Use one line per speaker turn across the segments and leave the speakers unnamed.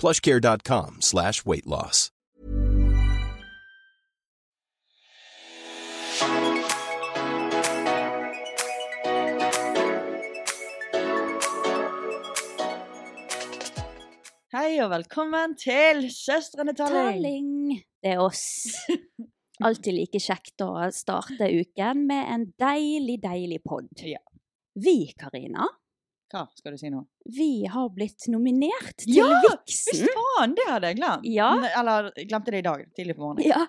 plushcare.com slash weight loss.
Hei og velkommen til Søstrene Talling.
Telling. Det er oss. Alltid like kjekt å starte uken med en deilig, deilig pod.
Ja.
Vi, Karina,
Hva skal du si nå?
vi har blitt nominert til
Ja, Visst
Vixen.
faen, det hadde jeg glemt!
Ja.
N- Eller glemte det i dag, tidlig på morgenen.
Ja,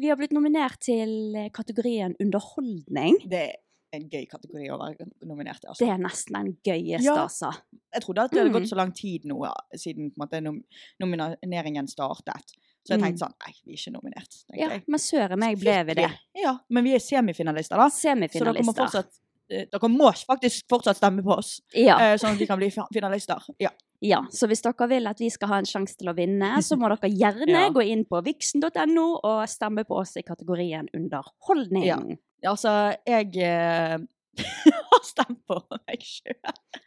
vi har blitt nominert til kategorien underholdning.
Det er en gøy kategori å være nominert i.
Det
Altså.
er nesten den gøyeste,
Ja.
altså.
Jeg trodde at det hadde
Mm.
gått så lang tid nå ja, siden på en måte, nom nomineringen startet. Så jeg
Mm.
tenkte sånn Nei, vi er ikke nominert. tenkte
Ja,
jeg.
men søren meg ble vi det.
Ja, men vi er semifinalister, da. Så dere må,
Semifinalister.
fortsatt, eh, dere må faktisk fortsatt stemme på oss,
Ja.
eh, sånn at vi kan bli fi- finalister. Ja.
ja, så hvis dere vil at vi skal ha en sjanse til å vinne, så må dere gjerne
Ja.
gå inn på vixen.no og stemme på oss i kategorien underholdning.
Ja. Altså, jeg eh, har stemt på meg sjøl.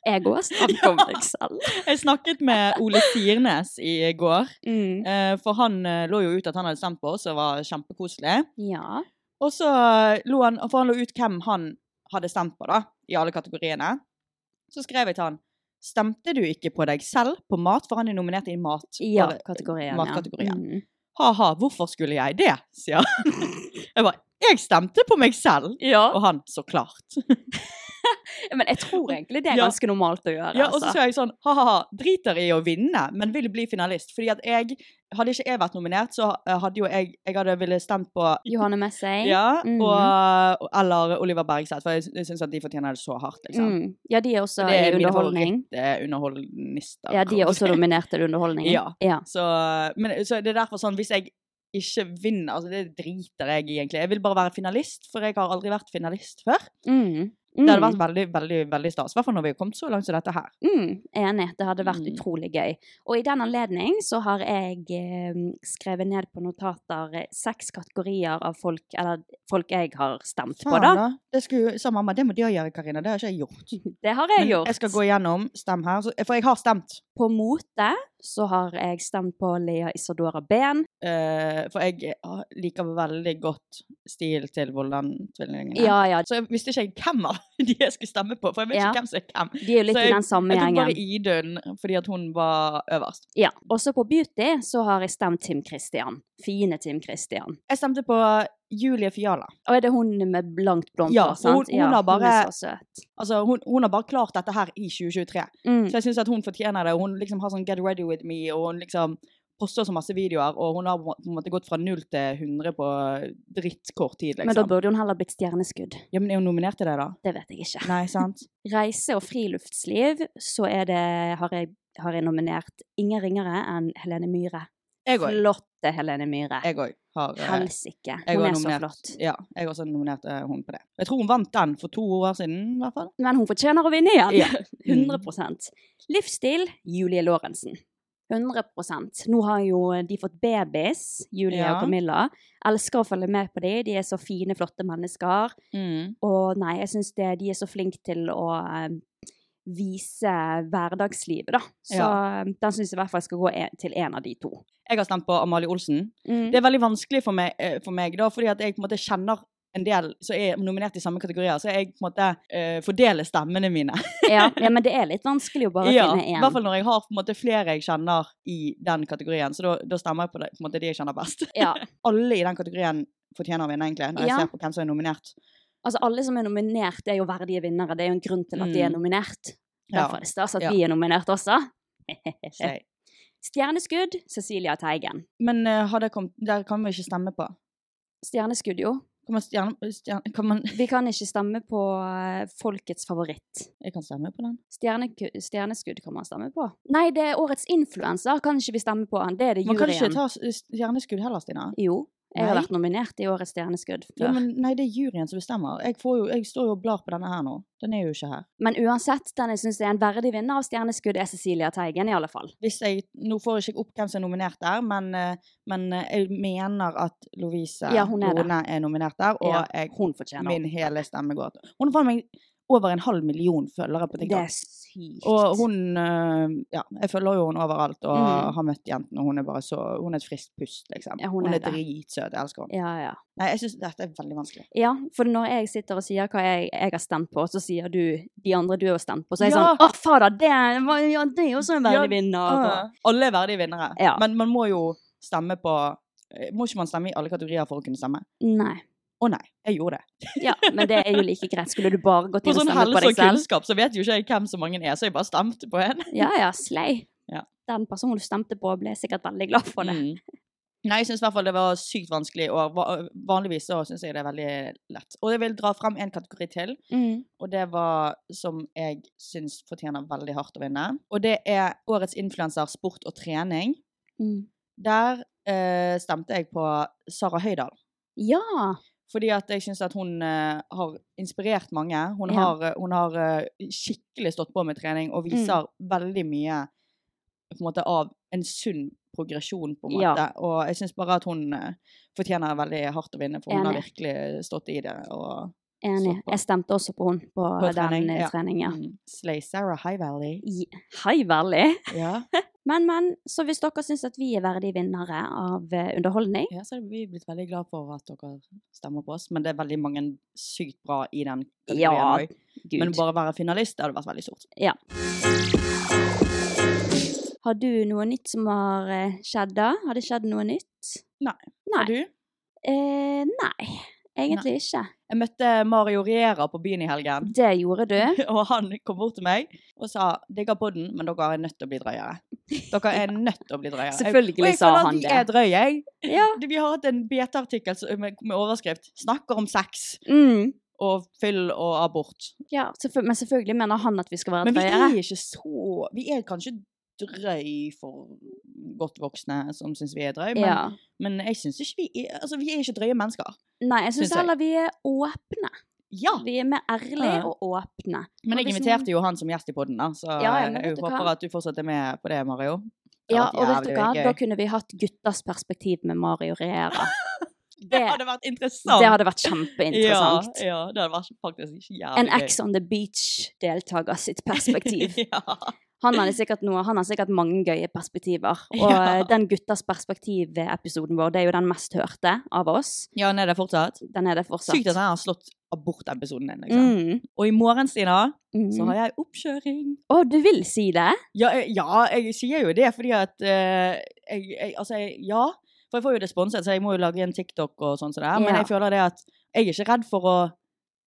Jeg òg
Ja.
stamkom meg selv.
Jeg snakket med Ole Sirnes i går,
Mm.
eh, for han eh, lå jo ut at han hadde stemt på oss, og var kjempekoselig.
Ja.
Og så eh, lå han, for han lå ut hvem han hadde stemt på, da, i alle kategoriene. Så skrev jeg til han Stemte du ikke på deg selv på mat, for han er nominert i mat?
ja
Bare-
kategorien.
matkategorien.
Ja. Mm.
Ha-ha, hvorfor skulle jeg det? sier han. Jeg bare Jeg stemte på meg selv! Og han så klart.
Men jeg tror egentlig det er
Ja.
ganske normalt å gjøre.
Ja, og så
altså.
sa jeg sånn ha-ha-ha, driter i å vinne, men vil bli finalist. Fordi at jeg Hadde ikke jeg vært nominert, så eh, hadde jo jeg Jeg hadde ville stemt på
Johanne Messing.
Ja,
Mhm.
og, eller Oliver Bergseth, for jeg, sy- jeg syns at de fortjener det så hardt, liksom.
Mm. ja, de er også
Det er
i
mine
underholdning.
Det er underholdnister.
Ja, de
kan
er
man
også
si.
nominert til underholdningen.
Ja. Så, men, så det er derfor sånn, hvis jeg ikke vinner, altså det driter jeg i egentlig. Jeg vil bare være finalist, for jeg har aldri vært finalist før.
Mm.
Det
Mm.
hadde vært veldig, veldig, veldig stas, i hvert fall når vi har kommet så langt som dette her.
mm. Enig. Det hadde vært
Mm.
utrolig gøy. Og i den anledning så har jeg eh, skrevet ned på notater eh, seks kategorier av folk, eller folk jeg har stemt på,
Faen,
da.
da. Det skulle, sa mamma, det må du også gjøre, Karina. Det har ikke jeg gjort.
Det har jeg
Men
gjort.
jeg skal gå igjennom, stem her. Så, for jeg har stemt.
På mote så har jeg stemt på Lea Isadora Behn.
eh, for jeg eh, liker veldig godt stil til Vollan-tvillingene.
Ja, ja,
Så jeg visste ikke jeg hvem av de jeg skulle stemme på, for jeg vet
Ja.
ikke hvem som er hvem.
de er jo litt
Så
i den samme
Jeg tok bare
gjengen.
Idun, fordi at hun var øverst.
Ja. Også på beauty så har jeg stemt Tim Christian. Fine Tim Christian.
Jeg stemte på Julie Fiala.
Og er det hun med langt blondt
Ja,
hår, sant?
hun- hun har bare-
Hun er så søt.
Altså, hun, hun har bare klart dette her i 2023.
Mm.
Så jeg syns at hun fortjener det. og Hun liksom har sånn 'get ready with me', og hun liksom poster så masse videoer, og hun har på en måte gått fra null til 100 på drittkort tid,
Men da
liksom.
burde hun heller blitt stjerneskudd.
Ja, men er hun nominert til det, da?
Det vet jeg ikke.
Nei, sant?
Reise og friluftsliv, så er det har jeg, har jeg nominert ingen ringere enn Helene Myhre.
Jeg òg.
Flotte Helene Myhre.
Jeg òg har eh,
Helsike.
jeg
Hun
har
er så
nominert-
flott.
Ja, jeg også nominerte hun på det. Jeg tror hun vant den for to år siden, i hvert fall.
Men hun fortjener å vinne igjen.
Ja.
100 Livsstil Julie Lorentzen. 100 Nå har jo de fått babys, Julie
Ja.
og Camilla. Elsker å følge med på dem. De er så fine, flotte mennesker.
Mm.
Og nei, jeg syns de er så flinke til å eh, vise hverdagslivet, da. Så
Ja.
eh, den syns jeg i hvert fall skal gå en, til en av de to.
Jeg har stemt på Amalie Olsen.
Mm.
Det er veldig vanskelig for meg, eh, for meg da, fordi at jeg på en måte kjenner en del som er nominert i samme kategorier, så jeg på en måte eh, fordeler stemmene mine.
ja, ja, men det er litt vanskelig å bare
Ja,
finne
I
én.
hvert fall når jeg har på en måte flere jeg kjenner i den kategorien, så da- da stemmer jeg på, det, på en måte de jeg kjenner best.
Ja.
Alle i den kategorien fortjener å vinne, egentlig, når jeg
Ja.
ser på hvem som er nominert.
Altså, alle som er nominert, er jo verdige vinnere. Det er jo en grunn til at de er
Mm.
nominert.
Ja.
Derfor er det stas at
Ja.
vi er nominert også.
Så jeg-
Stjerneskudd, Cecilia Teigen.
Men eh, har det kommet Der kan vi ikke stemme på.
Stjerneskudd, jo.
Kan man, stjerne, stjerne, kan man
Vi kan ikke stemme på eh, folkets favoritt.
Jeg kan stemme på den.
Stjerneku stjerneskudd kan man stemme på. Nei, det er årets influenser kan ikke vi stemme på. han. Det er det
Man kan ikke
juryen.
ta s- stjerneskudd heller, Stina.
Jo, jeg har
Nei.
vært nominert i årets stjerneskudd
Jo,
før. men...
men nei, det er juryen som bestemmer. Jeg, får jo, jeg står jo og blar på denne her nå. Den er jo ikke her.
uansett, den jeg syns er en verdig vinner av stjerneskudd, er Cecilia Teigen, i alle fall.
Hvis jeg, nå får jeg ikke opp hvem som er nominert der, men, eh, men eh, jeg mener at Lovise
Ja, hun er der.
Lone er nominert der, og
Ja,
jeg,
hun fortjener
min hele stemme går til Hun har faen meg over en halv million følgere på
Det
TikTok.
er sykt.
Og hun eh, Ja, jeg følger jo henne overalt og
Mm.
har møtt jentene, og hun er bare så Hun er et friskt pust, liksom.
Ja, hun
hun
er
er
det.
dritsøt. Jeg elsker henne.
Ja, ja.
Nei, jeg syns dette er veldig vanskelig.
ja, for når jeg sitter og sier hva jeg, jeg har stemt på, så sier du de andre du har stemt på. Så er jeg
Ja.
sånn Å, fader, det, var- ja, det er jo også en verdig
Ja,
vinner. Og-
Alle er verdige vinnere,
Ja.
men man må jo stemme på eh, Må ikke man stemme i alle kategorier for å kunne stemme?
Nei.
Å nei, jeg gjorde det.
Ja, men det er jo like greit. Skulle du bare gått
På
inn og
sånn
stemme på
helse
deg
og
selv?
kunnskap så vet jo ikke jeg hvem så mange er, så jeg bare stemte på en.
Ja, ja, slay.
Ja.
Den personen du stemte på, ble sikkert veldig glad for det.
Mm. Nei, jeg syns i hvert fall det var sykt vanskelig, og va- vanligvis så syns jeg det er veldig lett. Og jeg vil dra frem en kategori til,
Mm.
og det var som jeg syns fortjener veldig hardt å vinne. Og det er årets influenser sport og trening.
Mm.
Der eh, stemte jeg på Sara Høydahl.
Ja.
Fordi at jeg syns at hun eh, har inspirert mange. Hun
Ja. Mm.
har, hun har eh, skikkelig stått på med trening og viser veldig mye på en måte, av en sunn progresjon, på en
Ja.
måte. Og jeg syns bare at hun eh, fortjener veldig hardt å vinne, for hun har
Enig.
virkelig stått i det. Og
Enig.
Så bra.
Jeg stemte også på hun på,
På trening,
den eh,
ja.
treningen.
mm, Slay Sarah High Valley.
I- Hei, veldig.
Ja.
Men, men, så hvis dere syns at vi er verdige vinnere av eh, underholdning
ja, så er vi blitt veldig glad for at dere stemmer på oss. Men det er veldig mange sykt bra i den kategorien
Ja,
også.
Gud.
Men bare å være finalist, det hadde vært veldig stort.
Ja. Har du noe nytt som har eh, skjedd da? Har det skjedd noe nytt? Nei.
Og du?
Eh, nei, egentlig ikke.
Jeg møtte Mario Riera på byen i helgen.
Det gjorde du.
Og han kom bort til meg og sa 'digger podden, men dere er nødt til å bli drøyere'. Dere er nødt til å bli drøyere. Jeg-
Selvfølgelig
og jeg
sa
føler at
han
vi
det.
er drøye, jeg.
Ja.
Du, Vi har hatt en BT-artikkel som- med, med overskrift 'Snakker om sex
Mm.
og fyll og abort'.
ja selvfø- men selvfølgelig mener han at vi skal være
Men vi
drøyere.
er ikke så Vi er kanskje drøy for godt voksne som syns vi er drøy, men,
Ja.
men jeg syns ikke vi er Altså, vi er ikke drøye mennesker.
Nei, jeg
Syns
syns
jeg.
heller vi er åpne.
Ja!
Vi er mer ærlige
Ja.
og åpne.
Ah. Men
Og
jeg
hvis
inviterte jo han som gjest i podden, da, så
Ja, ja, men
jeg
vet du hva?
håper at du fortsatt er med på det, Mario. Det
Ja,
hadde vært
og vet du
jævlig
hva?
gøy.
Da kunne vi hatt guttas perspektiv med Mario Riera.
Det
Det-
hadde vært interessant.
Det hadde vært kjempeinteressant.
Sånn. Ja, ja, det hadde vært faktisk jævlig
En Ex on the Beach-deltaker sitt perspektiv.
ja.
Han hadde sikkert noe, han har sikkert mange gøye perspektiver. Og
Ja.
eh, den guttas perspektiv-episoden vår, det er jo den mest hørte av oss.
ja, nei, det er fortsatt.
Den er det fortsatt.
Sykt at han har slått abortepisoden din, liksom.
Mm.
Og i morgen, Stina,
Mm.
så har jeg oppkjøring.
Å, du vil si det?
Ja, jeg- ja, jeg sier jo det fordi at eh, jeg, jeg, Altså, jeg, ja. For jeg får jo det sponset, så jeg må jo lage en TikTok og sånn som det er. Men
Ja.
jeg føler det at jeg er ikke redd for å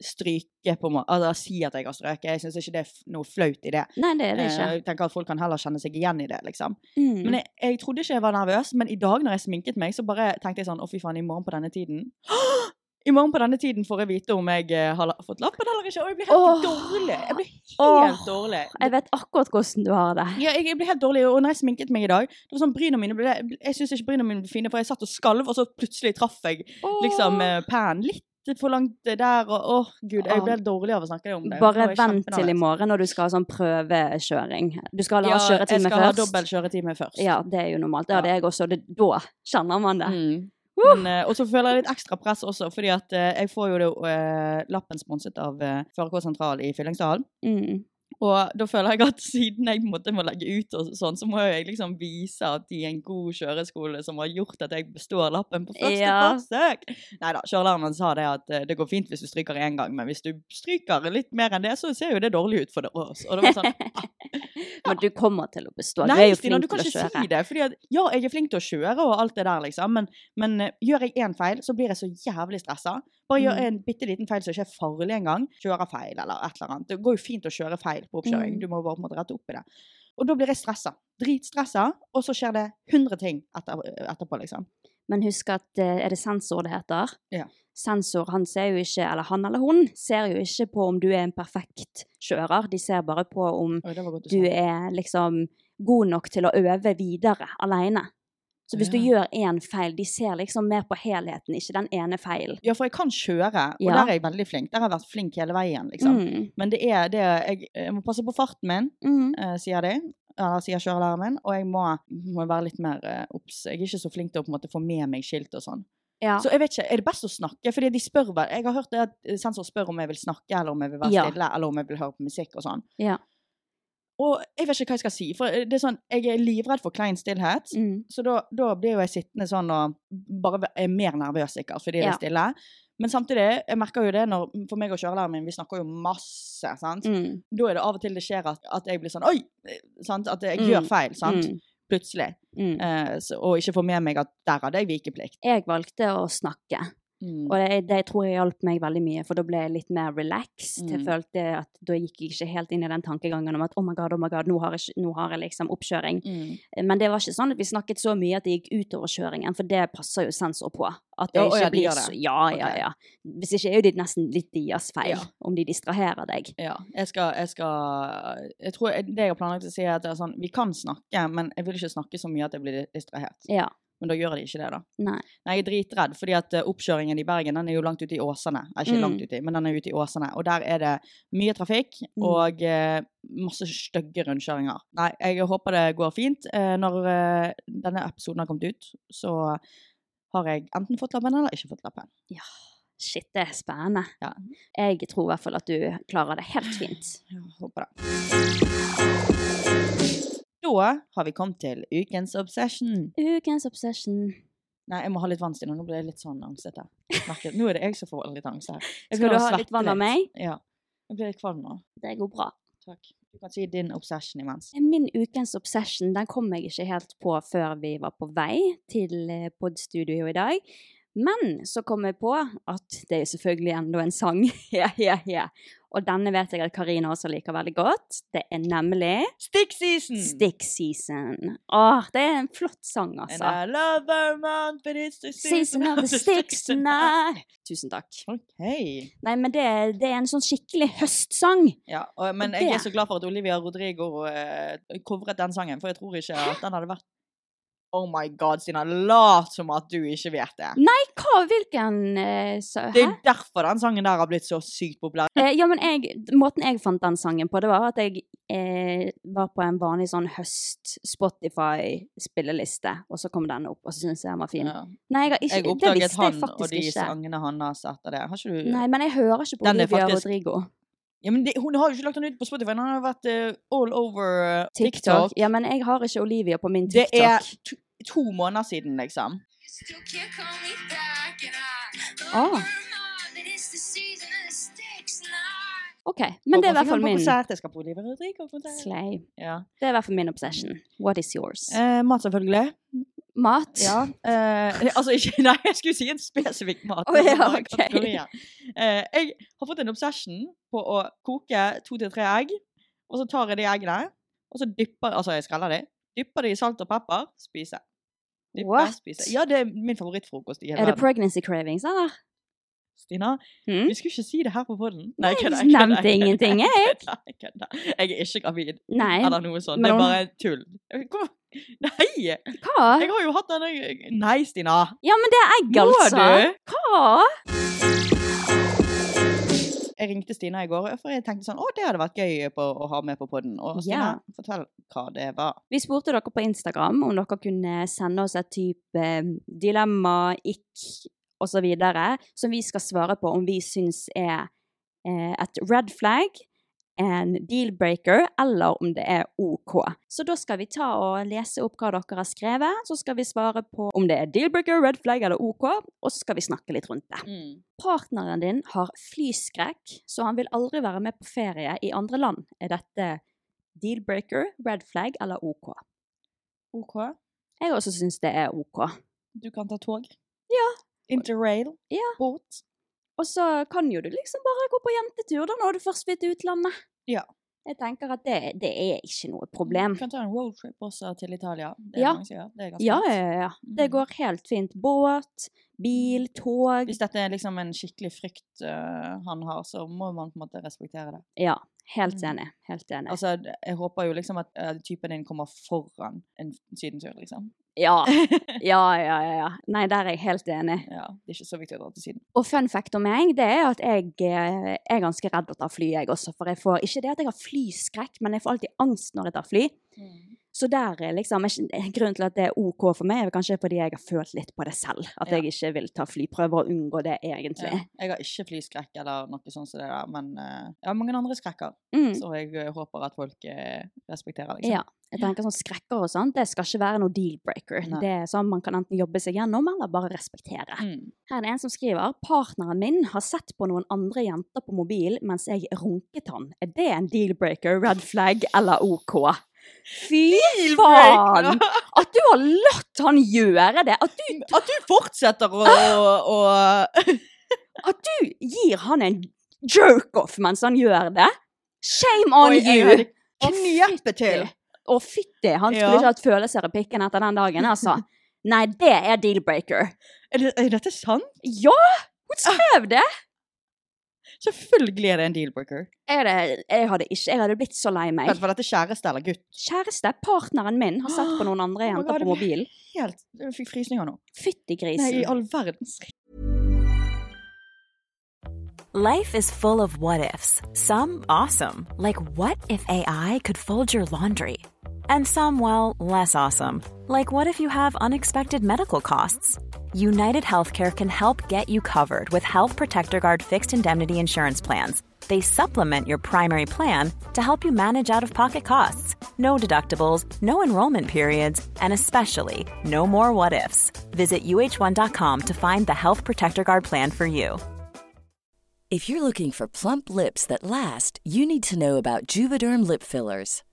stryke på meg, altså si at jeg har strøket. Jeg syns ikke det er f- noe flaut i det.
Nei, det er det
Eh,
ikke.
Jeg tenker at folk kan heller kjenne seg igjen i det, liksom.
Mm.
Men jeg, jeg trodde ikke jeg var nervøs, men i dag når jeg sminket meg, så bare tenkte jeg sånn, å fy faen, i morgen på denne tiden. I morgen på denne tiden får jeg vite om jeg eh, har la- fått lappen eller ikke, og jeg blir helt
Åh.
dårlig. Jeg blir helt
Åh.
dårlig.
Jeg vet akkurat hvordan du har det.
Ja, jeg, jeg ble helt dårlig, og når jeg sminket meg i dag, det var sånn, bryna mine ble, jeg synes ikke bryna mine ble fine, for jeg satt og skalv, og så plutselig traff jeg liksom eh, pæren litt dette, for langt der, og åh, gud, jeg ble helt dårlig av å snakke om det.
Bare
Nå er jeg
vent til i
kjempenervøs.
morgen når du skal ha sånn prøvekjøring. Du skal ha
liksom. Ja, jeg
kjøretime
skal ha
først.
dobbel kjøretime først.
Ja, det er jo normalt. Det hadde jeg også. Det, da kjenner man det.
Mm.
Woo!
Men, eh, og så føler jeg litt ekstra press også, fordi at eh, jeg får jo det, eh, lappen sponset av uh, Førerkår sentral i Fyllingsdalen.
Mm.
Og da føler jeg at siden jeg på en måte må legge ut og sånn, så må jeg liksom vise at de er en god kjøreskole som har gjort at jeg består lappen på første
Ja.
forsøk. Nei da, kjørelæreren min sa det at eh, det går fint hvis du stryker én gang, men hvis du stryker litt mer enn det, så ser jo det dårlig ut for oss. Og det var sånn
Men du kommer til å bestå. du er
Nei,
jo
Stina,
flink
du kan
til å
ikke
kjøre.
si det. Fordi at, ja, jeg er flink til å kjøre og alt det der, liksom, men, men eh, gjør jeg én feil, så blir jeg så jævlig stressa. Bare gjør
Mm.
en bitte liten feil som ikke er farlig engang. Kjører feil eller et eller annet. Det går jo fint å kjøre feil på oppkjøring,
Mm.
du må bare på en måte rette opp i det. Og da blir jeg stressa. Dritstressa, og så skjer det 100 ting etter, etterpå, liksom.
Men husk at eh, er det sensor det heter?
Ja.
Sensor, han ser jo ikke, eller han eller hun, ser jo ikke på om du er en perfekt kjører. De ser bare på om
Oi, det var godt
du er liksom god nok til å øve videre alene. Så hvis du gjør én feil, de ser liksom mer på helheten, ikke den ene feilen.
Ja, for jeg kan kjøre, og
Ja.
der er jeg veldig flink. Der har jeg vært flink hele veien, liksom.
Mm.
Men det er det jeg, jeg må passe på farten min.
Mm.
eh, sier de, eller sier kjørelæreren min, og jeg må, må være litt mer eh, obs. Jeg er ikke så flink til å på en måte få med meg skilt og sånn.
Ja.
Så jeg vet ikke, er det best å snakke? Fordi de spør vel, jeg har hørt det at sensor spør om jeg vil snakke, eller om jeg vil være
Ja.
stille, eller om jeg vil høre på musikk og sånn.
Ja.
Og jeg vet ikke hva jeg skal si, for eh, det er sånn, jeg er livredd for klein stillhet,
Mm.
så da, da blir jo jeg sittende sånn og bare er mer nervøs sikkert fordi det
Ja.
er stille. Men samtidig, jeg merker jo det når, for meg og kjørelæreren min, vi snakker jo masse, sant?
Mm.
da er det av og til det skjer at, at jeg blir sånn Oi! eh, Sant? At jeg
Mm.
gjør feil, sant?
Mm.
Plutselig.
Mm.
Eh, så, og ikke får med meg at der hadde jeg vikeplikt.
Jeg valgte å snakke.
Mm.
Og det, det tror jeg hjalp meg veldig mye, for da ble jeg litt mer relaxed. Jeg
Mm.
følte at da gikk jeg ikke helt inn i den tankegangen om at oh my god, oh my god, nå har jeg, ikke- nå har jeg liksom oppkjøring.
Mm.
Men det var ikke sånn at vi snakket så mye at det gikk utover kjøringen, for det passer jo sensor på. At det
Ja, å
ikke
ja, de
blir
gjør det.
så Ja, ja,
Ok.
ja. Hvis ikke er jo det nesten litt deres feil,
Ja.
om de distraherer deg.
Ja. Jeg skal, jeg skal jeg tror jeg- Det jeg har planlagt å si, er at det er sånn, vi kan snakke, men jeg vil ikke snakke så mye at jeg blir distrahert.
Ja.
Men da gjør de ikke det, da.
Nei.
Nei, jeg er dritredd, fordi at eh, oppkjøringen i Bergen den er jo langt ute i Åsane. Eh, Ikke
Mm.
langt ute, i, men den er ute i Åsane. Og der er det mye trafikk
Mm.
og eh, masse stygge rundkjøringer. Nei, jeg håper det går fint. Eh, når eh, denne episoden har kommet ut, så har jeg enten fått lappen eller ikke fått lappen.
Ja. Shit, det er spennende.
Ja.
Jeg tror i hvert fall at du klarer det helt fint.
Jeg håper det. Da har vi kommet til ukens obsession.
Ukens obsession.
Nei, jeg må ha litt vann, Stina. Nå ble jeg litt sånn angstete. Merker- Nå er det jeg som får litt angst her. Jeg
Skal du
begynner å
ha litt
svette
vann av meg?
Ja. Jeg blir litt kvalm nå.
Det går bra.
Takk. Du kan si din obsession imens.
Min ukens obsession den kom jeg ikke helt på før vi var på vei til eh, podstudio i dag. Men så kom jeg på at det er selvfølgelig enda en sang. ja, ja, ja. Og denne vet jeg at Karina også liker veldig godt. Det er nemlig
Stick season!
Stick Season. Åh, det er en flott sang,
And
altså.
I love Vermont, but it's the season,
Season of the Sticks tonight. Tusen takk.
Ok.
Nei, men det, det er en sånn skikkelig høstsang.
Ja, og, men
Og
jeg er
det-
så glad for at Olivia Rodrigo eh, covret den sangen, for jeg tror ikke at den hadde vært Oh my god, Stina. Lat som at du ikke vet det.
Nei, hva, hvilken eh, sa-
Det
hæ?
er derfor den sangen der har blitt så sykt populær.
Eh, ja, men jeg, måten jeg fant den sangen på, det var at jeg eh, var på en vanlig sånn høst-Spotify-spilleliste, og så kom den opp, og så syntes jeg den var fin.
Ja.
Nei, jeg, har ikke,
Jeg
det
oppdaget
visste jeg
han og
faktisk
de
ikke.
sangene hans etter det. Har ikke du
Nei, men jeg hører ikke på
Den er
Olivia
faktisk-
Rodrigo.
ja, men det, Hun har jo ikke lagt den ut på Spotify. Den har jo vært eh, all over eh,
TikTok.
TikTok.
Ja, men jeg har ikke Olivia på min
Det
TikTok.
er to, to måneder siden, liksom.
Ah. Ok, men det er i hvert fall min
Konsert. Jeg skal på Oliver Rodrigo-konsert.
slay.
Ja.
Det er i hvert fall min obsession. What is yours?
Eh, mat, selvfølgelig.
Mat?
Ja. Eh, altså ikke Nei, jeg skulle si en spesifikk mat.
Å, ja,
Bare
ok.
kategorier. Eh, jeg har fått en obsession på å koke to til tre egg, og så tar jeg de eggene, og så dypper Altså, jeg skreller de. Dypper de i salt og pepper, spiser. Dypper,
What?
spiser. Ja, det er min favorittfrokost i hele
Er det
verden.
pregnancy cravings, Ah, eller?
Stina,
Hmm?
vi skulle ikke si det her på podden. Nei, jeg kødder,
jeg
kødder,
nevnte
kødder,
ingenting, jeg.
kødder, jeg kødder. Jeg er ikke gravid.
Nei.
Eller noe sånt.
men
Det er
hun-
bare tull. Kom. Nei! Jeg
Hva?
har jo hatt denne Nei, Stina.
Ja, men det er egg,
Må
altså.
du?
Hva?
Jeg ringte Stina i går, for jeg tenkte sånn Å, det hadde vært gøy på, å ha med på podden. Og Stina,
Ja.
fortell hva det var.
Vi spurte dere på Instagram om dere kunne sende oss et type eh, dilemma, ikk osv. som vi skal svare på om vi syns er eh, et red flag, en deal-breaker, eller om det er OK. Så da skal vi ta og lese opp hva dere har skrevet, så skal vi svare på om det er deal-breaker, red flag eller OK, og så skal vi snakke litt rundt det. Partneren din har flyskrekk, så han vil aldri være med på ferie i andre land. Er dette deal-breaker, red flag eller OK?
OK.
Jeg også syns det er OK.
Du kan ta tog.
Ja.
Interrail.
Ja.
Båt.
Og så kan jo du liksom bare gå på jentetur da når du først vil til utlandet.
Ja.
Jeg tenker at det, det er ikke noe problem.
Du kan ta en roadtrip også til Italia. Det er
Ja.
mange som gjør. Det er ganske
Ja,
fint.
ja, ja, ja. Det
Mm.
går helt fint. Båt, bil, tog.
Hvis dette er liksom en skikkelig frykt eh, han har, så må man på en måte respektere det.
Ja, helt
Mm.
enig. Helt enig.
Altså, d- jeg håper jo liksom at eh, typen din kommer foran en sydentur, liksom.
Ja. ja, ja, ja, ja. Nei, der er jeg helt enig.
Ja, det er ikke så viktig å dra til Syden.
Og fun fact om meg, det er at jeg eh, er ganske redd å ta fly, jeg også. For jeg får ikke det at jeg har flyskrekk, men jeg får alltid angst når jeg tar fly.
Mm.
Så der er liksom ikke- Grunnen til at det er OK for meg, er vel kanskje fordi jeg har følt litt på det selv. At
Ja.
jeg ikke vil ta flyprøver og unngå det, egentlig.
Ja. Jeg har ikke flyskrekk eller noe sånt som det der, men eh, jeg har mange andre skrekker,
Mm.
så jeg eh, håper at folk eh, respekterer, liksom.
Ja. Jeg tenker sånn Skrekker og sånt, det skal ikke være noe deal-breaker.
Nei.
Det er sånn Man kan enten jobbe seg gjennom, eller bare respektere.
Mm.
Her er det en som skriver partneren min har sett på noen andre jenter på mobilen mens jeg runket han. Er det en deal-breaker, red flag eller OK? Fy faen! At du har latt han gjøre det! At du,
At du fortsetter å,
Ah!
å
at du gir han en jerk-off mens han gjør det! Shame on
Oi, jeg
you!
hadde
Å,
knepet til.
fytti. Å, fytti! Han
Ja.
skulle ikke hatt følelser i pikken etter den dagen, altså. Nei, det er deal-breaker.
Er, det, er dette sant?
Ja! Hun
Ah.
skrev det!
Selvfølgelig er det en deal-breaker.
Jeg hadde, jeg hadde ikke Jeg hadde blitt så lei meg.
Vent, Var dette kjæreste eller gutt?
Kjæreste, partneren min, har sett på noen
Oh
andre
my
jenter
God,
på
det
mobilen.
Helt, Jeg fikk frysninger nå.
Fytti
Nei, i
grisen.
all verdens
Life is full of what ifs. Some awesome, like what if AI could fold your laundry? And some, well, less awesome, like what if you have unexpected medical costs? United Healthcare can help get you covered with Health Protector Guard fixed indemnity insurance plans. They supplement your primary plan to help you manage out of pocket costs. No deductibles, no enrollment periods, and especially no more what ifs. Visit uh1.com to find the Health Protector Guard plan for you.
If you're looking for plump lips that last, you need to know about Juvederm lip fillers.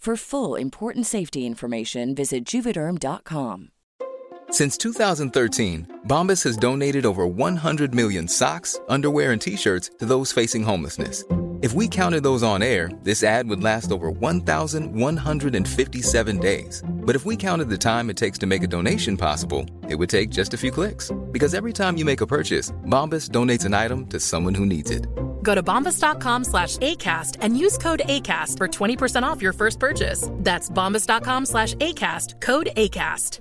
For full important safety information, visit juvederm.com.
Since 2013, Bombas has donated over 100 million socks, underwear, and t shirts to those facing homelessness. If we counted those on air, this ad would last over 1,157 days. But if we counted the time it takes to make a donation possible, it would take just a few clicks. Because every time you make a purchase, Bombas donates an item to someone who needs it.
Go to bombas.com slash ACAST and use code ACAST for 20% off your first purchase. That's bombas.com slash ACAST, code ACAST.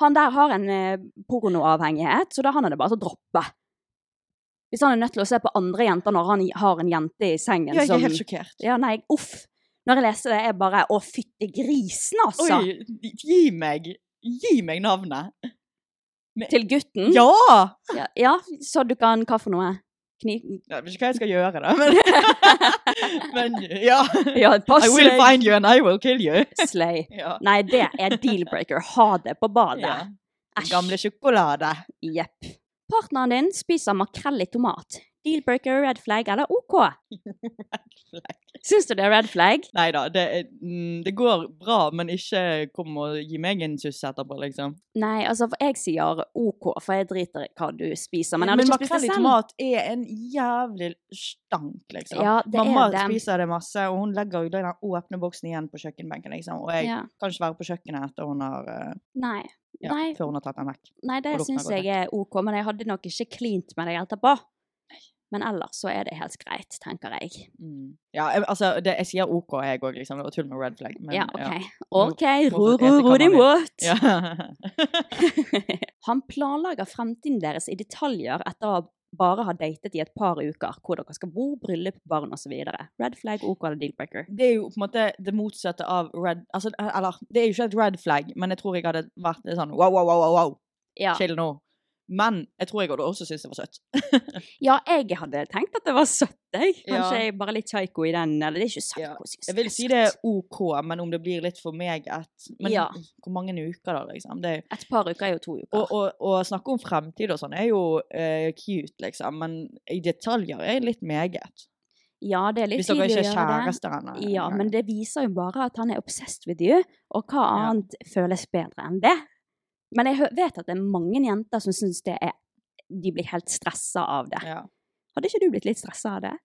Han der har en eh, pornoavhengighet, så da han er det bare til å droppe. Hvis han er nødt til å se på andre jenter når han har en jente i sengen
Jeg er
som
helt sjokkert.
Ja, nei, uff. Når jeg leser det, er jeg bare Å, fytti grisen, altså!
Oi, gi meg Gi meg navnet. Men-
Til gutten?
Ja!
Ja, ja, så du kan hva for noe? Kni...
Jeg vet ikke hva jeg skal gjøre, da, men, men ja.
Ja, pass
I will
deg.
find you and I will kill you.
Slay.
Ja.
Nei, det er deal-breaker. Ha det på badet.
Ja.
Æsj.
Gamle sjokolade.
Jepp. Partneren din spiser makrell i tomat. Deal-breaker, red flag eller OK? Syns du det er red flag?
Nei da, det, er- mm, det går bra, men ikke kom og gi meg en suss etterpå, liksom.
Nei, altså, for jeg sier OK, for jeg driter i hva du spiser. Men jeg hadde ikke spist
makrell
det
i
selv.
tomat er en jævlig stank, liksom.
Ja, det er
Mamma
det.
spiser det masse, og hun legger jo den åpne boksen igjen på kjøkkenbenken, liksom. Og jeg
Ja.
kan ikke være på kjøkkenet etter hun har, eh,
Nei.
ja,
Nei.
før hun har tatt den vekk.
Nei, det
Og lukten er
syns
godt,
jeg er OK, men jeg hadde nok ikke cleant med deg etterpå. Men ellers så er det helt greit, tenker jeg.
Mm. Ja, jeg- altså, det, jeg sier OK, jeg òg, liksom. Det var tull med red flag. Men,
ja, OK.
Nå-
OK,
nå
ro,
får
ro,
etikken
ro din
være
båt!
Ja.
Han planlegger fremtiden deres i detaljer etter å bare ha datet i et par uker. Hvor dere skal bo, bryllup, barn osv. Red flag, OK eller deal-breaker?
det er jo på en måte det motsatte av red altså, Eller, det er jo ikke et red flag, men jeg tror jeg hadde vært litt sånn wow, wow, wow, wow, wow.
Ja.
chill nå. Men jeg tror jeg hadde også syntes det var søtt.
ja, jeg hadde tenkt at det var søtt, jeg. Kanskje
Ja.
jeg bare litt psycho i den. Eller det er ikke
Ja.
psycho, synes
Jeg vil si det er OK, men om det blir litt for meg et Men
Ja.
hvor mange uker, da, liksom? Det er,
Et par uker er jo to uker.
og, og, og å snakke om fremtid og sånn er jo eh, cute, liksom, men i detaljer er litt meget.
ja, det er litt
Hvis dere
tidlig
ikke er
å gjøre det.
kjærester ennå.
Ja, men det viser jo bare at han er obsessed with you, og hva
Ja.
annet føles bedre enn det? Men jeg hø- vet at det er mange jenter som syns det er De blir helt stressa av det.
ja.
Hadde ikke du blitt litt stressa av det?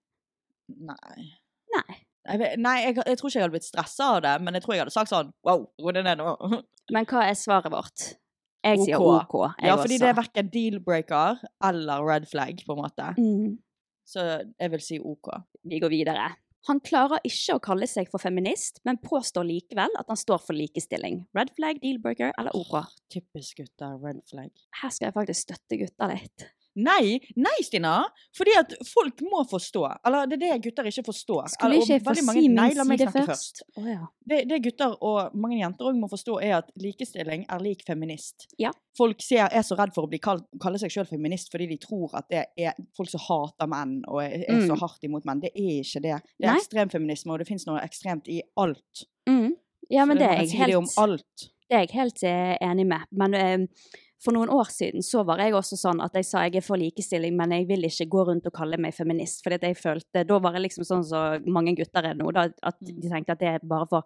Nei.
Nei.
Jeg, vet- nei, jeg, jeg tror ikke jeg hadde blitt stressa av det, men jeg tror jeg hadde sagt sånn wow, ro deg ned nå.
Men hva er svaret vårt? Jeg sier
OK.
OK. Jeg
Ja, fordi
også.
det er verken deal-breaker eller red flag, på en måte.
mm,
Så jeg vil si OK.
Vi går videre. Han klarer ikke å kalle seg for feminist, men påstår likevel at han står for likestilling. Red flag, dealbreaker eller OK?
Typisk gutter, red flag.
Her skal jeg faktisk støtte gutta litt.
Nei, nei, Stina! Fordi at folk må forstå. Eller det er det gutter ikke forstår.
Skulle
Eller, og
ikke jeg få
veldig mange-
si
Nei,
min
la meg
side
snakke
først? Å ja.
Det, det gutter og mange jenter òg må forstå, er at likestilling er lik feminist.
Ja.
Folk ser, er så redd for å bli kalt, kalle seg sjøl feminist fordi de tror at det er folk som hater menn og er, er så
Mm.
hardt imot menn. Det er ikke det. Det er
Nei.
ekstremfeminisme, og det fins noe ekstremt i alt.
Mm. ja, men
Så
det
man
er
kan
jeg
si
helt
om alt.
Det er jeg helt eh, enig med. Men eh, for noen år siden så var jeg også sånn at jeg sa jeg er for likestilling, men jeg vil ikke gå rundt og kalle meg feminist. For jeg følte, da var jeg liksom sånn som mange gutter er nå, da, at
Mm.
de tenkte at det er bare for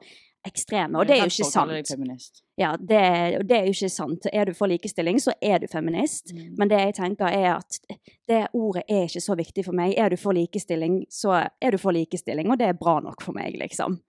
ekstreme. Og det er
Redd
jo
for
ikke
å kalle deg
sant.
feminist.
Ja, det, og det er jo ikke sant. Er du for likestilling, så er du feminist. Men det jeg tenker er at det ordet er ikke så viktig for meg. Er du for likestilling, så er du for likestilling, og det er bra nok for meg, liksom.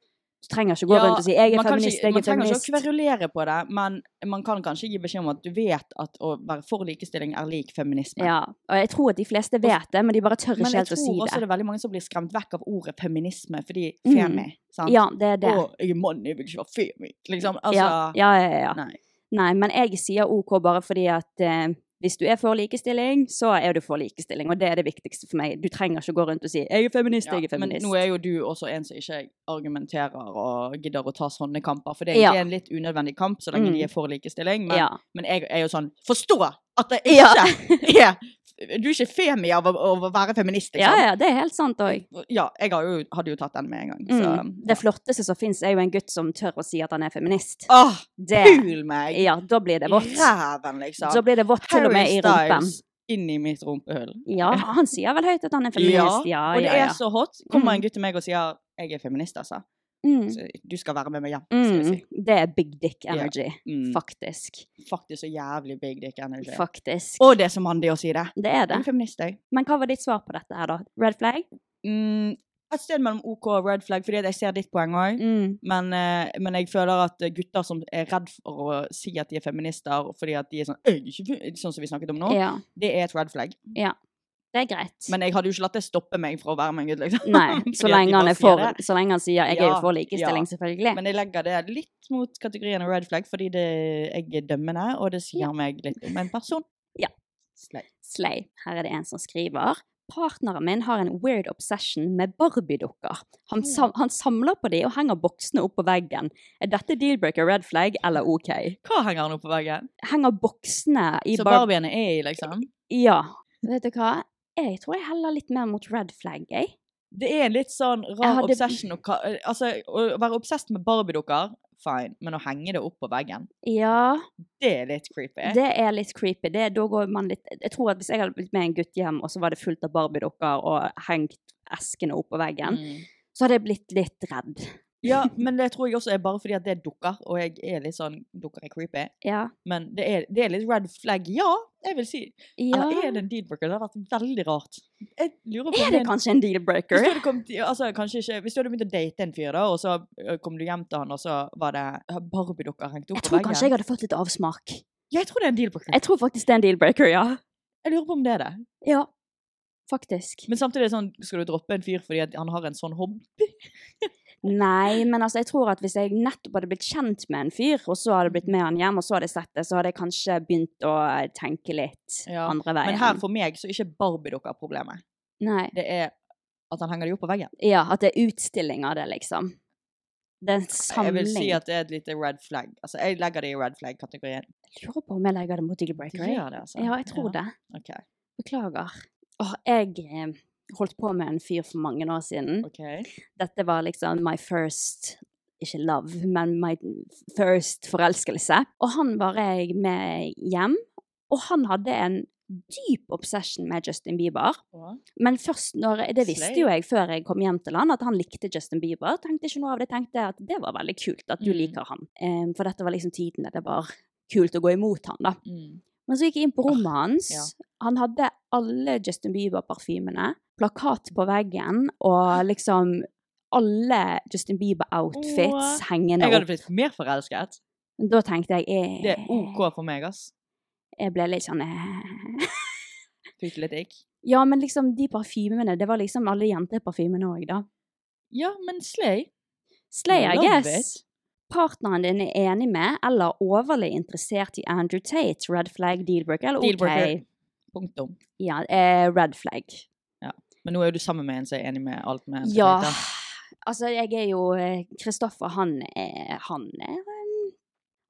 Du trenger ikke gå
Ja,
rundt og si 'jeg er
man kan
feminist,
ikke,
jeg
man
er
trenger ikke å
feminist'.
kverulere på det, men man kan kanskje gi beskjed om at du vet at å være for likestilling er lik feminisme.
Ja, og jeg tror at de fleste vet det, men de bare tør
Men
ikke
jeg
helt å
tror
si
også det
det.
er veldig mange som blir skremt vekk av ordet feminisme fordi
Mm.
femi. sant?
Ja, det er det.
Å, jeg er mann, jeg vil ikke være femi. Liksom. Altså,
Ja, ja, ja, ja, ja.
Nei.
Nei, men jeg sier OK bare fordi at eh, hvis du er for likestilling, så er du for likestilling, og det er det viktigste for meg. Du trenger ikke gå rundt og si 'jeg er feminist,
Ja,
jeg er
men
feminist'.
nå er jo du også en som ikke argumenterer og gidder å ta sånne kamper. For det,
Ja.
det er en litt unødvendig kamp så lenge
Mm.
de er for likestilling. Men,
ja.
men jeg er jo sånn Forstå at det
Ja.
ikke er Du er ikke femi av å, av å være feminist,
ja,
liksom.
ja, det er helt sant òg.
Ja, jeg har jo, hadde jo tatt den med en gang. Så,
Mm. Det flotteste som fins, er jo en gutt som tør å si at han er feminist.
Åh,
Det,
pul meg!
ja, da blir det vått.
Ræven, liksom.
Da blir det vått til og med i rumpen.
inn i mitt rumpehull.
Ja, han sier vel høyt at han er feminist. Ja,
og det
ja,
er
ja.
så hot. Kommer en gutt til meg og sier 'jeg er feminist', altså.
Mm.
Så, du skal være med meg hjem, skal jeg
Mm.
si.
Det er big dick
Ja.
energy,
Mm.
faktisk.
Faktisk så jævlig big dick energy.
Faktisk.
Og det er så mandig å si det.
det er
Jeg
det.
er feminist, jeg.
Men hva var ditt svar på dette her, da? Red flag?
Mm, et sted mellom OK og red flag, fordi at jeg ser ditt poeng òg.
Mm.
Men, eh, men jeg føler at gutter som er redd for å si at de er feminister fordi at de er sånn «Jeg er ikke fe-» Sånn som vi snakket om nå.
Ja.
Det er et red flag.
Det er greit.
Men jeg hadde jo ikke latt det stoppe meg fra å være med en gutt, liksom.
Nei, så
Fordi at de
lenge han
bare
er
sier
for
det.
Så lenge han sier 'jeg er jo
Ja,
for likestilling',
ja.
selvfølgelig.
Men jeg legger det litt mot kategorien red flag, fordi det, jeg er dømmende, og det sier
Ja.
meg litt om en person.
Ja.
Slay.
Slay. Her er det en som skriver partneren min har en weird obsession med Barbie-dukker. Han, sam han samler på de og henger boksene opp på veggen. Er dette deal-breaker, red flag eller OK?
Hva henger han opp på veggen?
Henger boksene i
Så
Barbie
barbiene er i, liksom?
Ja. Vet du hva? Jeg tror jeg heller litt mer mot red flag, jeg.
Det er en litt sånn
Jeg
rar
hadde-
obsession. Å, ka- altså, å være obsesst med Barbie-dukker, fine, men å henge det opp på veggen,
Ja,
det er litt creepy.
det er litt creepy. Det, da går man litt Jeg tror at hvis jeg hadde blitt med en gutt hjem, og så var det fullt av Barbie-dukker og hengt eskene opp på veggen,
Mm.
så hadde jeg blitt litt redd.
Ja, men det tror jeg også er bare fordi at det er dukker, og jeg er litt sånn Dukker er creepy.
Ja.
Men det er, det er litt red flag, ja, jeg vil si.
ja.
Eller er det en dealbreaker? Det har vært veldig rart. Jeg lurer på om
Er det
en-
kanskje en
Hvis du,
deal-breaker?
hadde kommet, i- altså, kanskje ikke, hvis du hadde begynt å date en fyr, da, og så ø, kom du hjem til han, og så var det har Barbie-dukker hengt opp
Jeg
på
tror
veggen
kanskje jeg hadde fått litt avsmak.
Jeg tror det er en dealbreaker.
Jeg tror faktisk det er en deal-breaker, ja.
Jeg lurer på om det er det.
Ja, faktisk.
Men samtidig er det sånn, skal du droppe en fyr fordi at han har en sånn hobby?
Nei, men altså, jeg tror at hvis jeg nettopp hadde blitt kjent med en fyr, og så
Mm.
hadde jeg blitt med han hjem, og så hadde jeg sett det, så hadde jeg kanskje begynt å tenke litt
Ja,
andre veien.
Men her for meg så er ikke Barbie-dukker problemet.
Nei.
Det er at han henger de opp på veggen.
Ja, at det er utstilling av det, liksom. Det er en
Jeg
samling.
vil si at det er et lite red flag. Altså, jeg legger det i red flag-kategorien.
Jeg lurer på om jeg legger det mot Deal
Du
Breaker. jeg.
gjør det, altså?
Ja, jeg tror det.
Ok,
Beklager. Åh, jeg eh, holdt på med en fyr for mange år siden.
ok.
Dette var liksom my first ikke love, men my first forelskelse. Og han var jeg med hjem, og han hadde en dyp obsession med Justin Bieber.
Hva?
Men først når, det visste
Slay.
jo jeg før jeg kom hjem til han, at han likte Justin Bieber. Tenkte ikke noe av det, tenkte at det var veldig kult at du
Mm.
liker han. Em, for dette var liksom tiden der det var kult å gå imot han, da.
Mm.
Men så gikk jeg inn på rommet hans.
ja.
Han hadde alle Justin Bieber-parfymene, plakat på veggen og liksom alle Justin Bieber-outfits
Åh.
hengende
Jeg hadde
opp.
blitt mer forelsket.
Da tenkte jeg jeg,
Det er OK for meg, ass.
jeg ble litt sånn eh.
Fikk litt ikk.
Ja, men liksom de parfymene, det var liksom alle jenteparfymene òg, da.
Ja, men slay.
Slay, I
Love
guess. Partneren din er enig med eller overlig interessert i Andrew Tate, red flag, dealbreaker eller OK?
Dealbreaker. Punktum.
Ja, eh, red flag.
Men nå er jo du sammen med en som er enig med alt med en som
Ja,
tenkte.
altså jeg er jo eh, Kristoffer, han er Han er en-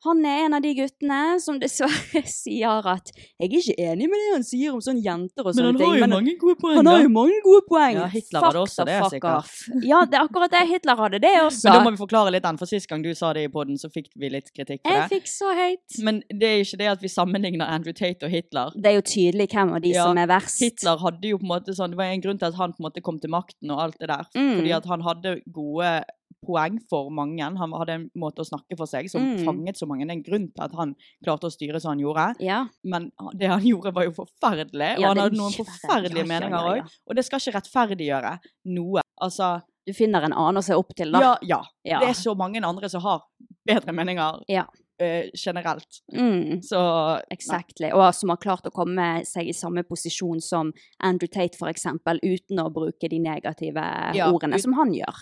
han er en av de guttene som dessverre sier at Jeg er ikke enig med det han sier om sånne jenter
Men
og sånne
han
ting.
har jo mange gode poeng,
han
da.
har jo mange gode poeng.
Ja, Hitler
Fuck
hadde også
the
det,
fuck
sikkert.
off. Ja, det er akkurat det. Hitler hadde det også.
Men da må vi forklare litt den, for sist gang du sa det i poden, så fikk vi litt kritikk for
Jeg
det.
fikk så høyt.
Men det er ikke det at vi sammenligner Andrew Tate og Hitler.
Det er jo tydelig hvem av de
Ja,
som er verst.
Hitler hadde jo på en måte sånn, Det var en grunn til at han på en måte kom til makten og alt det der.
Mm.
Fordi at han hadde gode poeng for mange. Han hadde en måte å snakke for seg som
Mm.
fanget så mange. Det er en grunn til at han klarte å styre som han gjorde.
Ja.
Men det han gjorde, var jo forferdelig. Og
Ja,
han
det er
hadde noen
mye verre.
forferdelige
Ja, ja,
meninger
ja,
òg.
ja.
Og det skal ikke rettferdiggjøre noe. Altså
Du finner en annen å se opp til,
ja,
da.
ja.
Ja.
Det er så mange andre som har bedre meninger
Ja.
eh, generelt.
Mm.
Så
Exactly. Og som har klart å komme seg i samme posisjon som Andrew Tate, for eksempel, uten å bruke de negative
Ja,
ordene
ut-
som han gjør.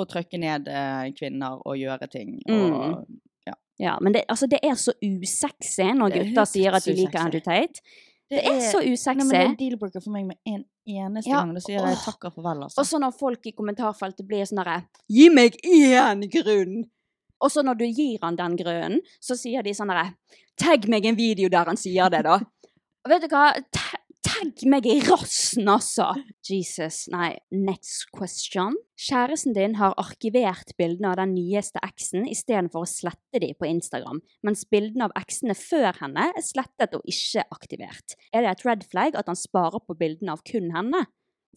Å trykke ned eh, kvinner og gjøre ting og
Mm. Ja, men det, altså, det er så usexy når
Det er
gutter
høyst
sier at de
usexy.
liker Andrew Tate. Det er så
Nei, men det er
usexy.
deal-breaker for meg med en eneste
Ja,
gang. Da sier jeg
åh.
takk og farvel, altså.
Og så når folk i kommentarfeltet blir sånn derre Gi meg én grunn! Og så når du gir han den grunnen, så sier de sånn derre Tagg meg en video der han sier det, da. Og Vet du hva? Ta- Tagg meg i rassen, altså! Jesus. Nei. Next question. Kjæresten din har arkivert bildene av den nyeste eksen istedenfor å slette de på Instagram, mens bildene av eksene før henne er slettet og ikke aktivert. Er det et red flag at han sparer på bildene av kun henne?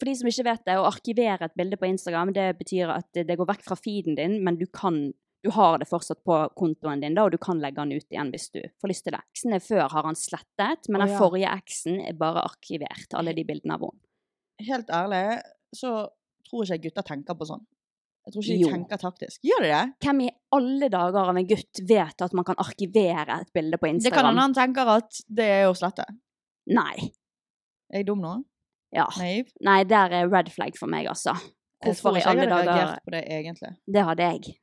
For de som ikke vet det, å arkivere et bilde på Instagram, det betyr at det- det går vekk fra feeden din, men du kan du har det fortsatt på kontoen din, da, og du kan legge den ut igjen hvis du får lyst til det. Eksene før har han slettet, men
Å,
den
ja.
forrige eksen er bare arkivert, alle de bildene av henne.
Helt ærlig så tror ikke jeg gutter tenker på sånn. Jeg tror ikke de
Jo.
tenker taktisk. Gjør de det?
Hvem i alle dager av en gutt vet at man kan arkivere et bilde på
Det kan hende
Instagram?
han tenker at det er å slette.
Nei.
Er jeg dum nå?
Ja.
Naiv?
Nei, der er red flag for meg, altså.
Jeg tror
Hvorfor i
ikke
alle
jeg hadde
dager
reagert på det, egentlig.
Det hadde jeg.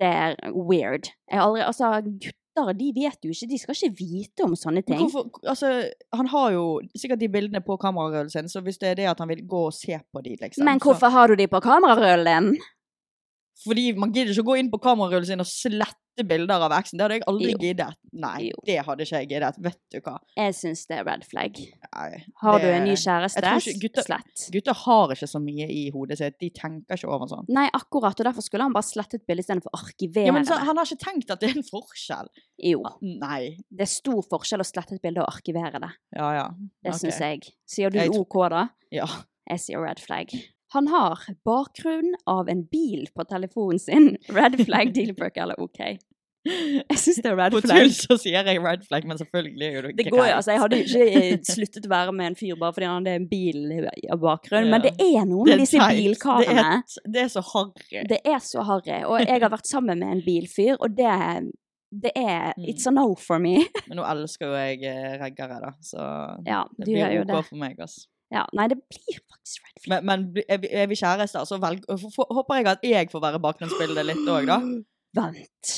Det er weird. Jeg har aldri Altså, lyttere de vet jo ikke, de skal ikke vite om sånne
Men
ting.
Hvorfor, altså, han har jo sikkert de bildene på kamerarullen sin, så hvis det er det at han vil gå og se på de, liksom
Men hvorfor har du de på kamerarullen?
Så, fordi man gidder ikke å gå inn på kamerarullen sin og slette bilder av eksen. Det hadde jeg aldri
Jo.
giddet. Nei,
Jo.
det hadde ikke jeg giddet. Vet du hva.
Jeg syns det er red flag.
Nei.
Har
Det-
du en ny
jeg
kjæreste?
tror ikke gutter-
Slett.
Gutter har ikke så mye i hodet sitt. De tenker ikke over sånn.
Nei, akkurat, og derfor skulle han bare slette et bilde istedenfor å arkivere
Ja, men så,
det.
Han har ikke tenkt at det er en forskjell.
Jo,
Nei.
det er stor forskjell å slette et bilde og arkivere det.
Ja, ja.
Det
Ok.
syns jeg. Sier du
Jeg tror-
OK, da?
Ja.
Jeg sier red flag. Han har bakgrunn av en bil på telefonen sin. Red flag, dealbreaker eller OK? Jeg syns det er red
På
flag.
tull så sier jeg red flag, men selvfølgelig er jo det
Det går jo,
greit.
altså Jeg hadde jo ikke eh, sluttet å være med en fyr bare fordi han hadde en bil i- av bakgrunn,
Ja.
men det er noe
Det er
med disse
teit. Det
bilkarene.
er, det er så harry.
Det er så harry. Og jeg har vært sammen med en bilfyr, og det, det er
Mm.
It's a no for me.
Men nå elsker jo jeg eh, reggere, da, så
Ja,
det
du gjør
blir
jo
OK
det.
for meg. Altså.
Ja, nei, det blir faktisk red flag.
Men, men bli- er vi- er vi kjærester, så velg, f- f- håper jeg at jeg får være bakgrunnsbildet litt òg, da.
Vent.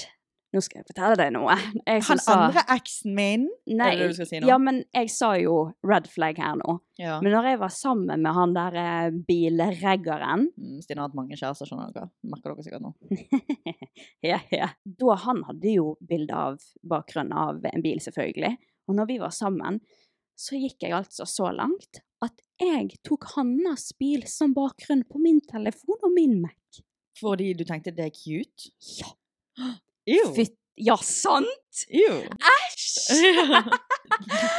Nå skal jeg fortelle deg noe. Jeg som
Han
sa
andre eksen min
Nei,
Er det det du skal si nå?
Ja, men jeg sa jo red flag her nå.
ja.
Men når jeg var sammen med han der eh, bilreggeren
Mm, Stine har hatt mange kjærester, skjønner dere. Merker dere sikkert nå.
ja, ja. Da han hadde jo bilde av bakgrunnen av en bil, selvfølgelig. Og når vi var sammen, så gikk jeg altså så langt at jeg tok hans bil som bakgrunn på min telefon og min Mac.
Fordi du tenkte det er cute?
Ja.
Ew.
Fytt- Ja, sant?
Ew.
Æsj!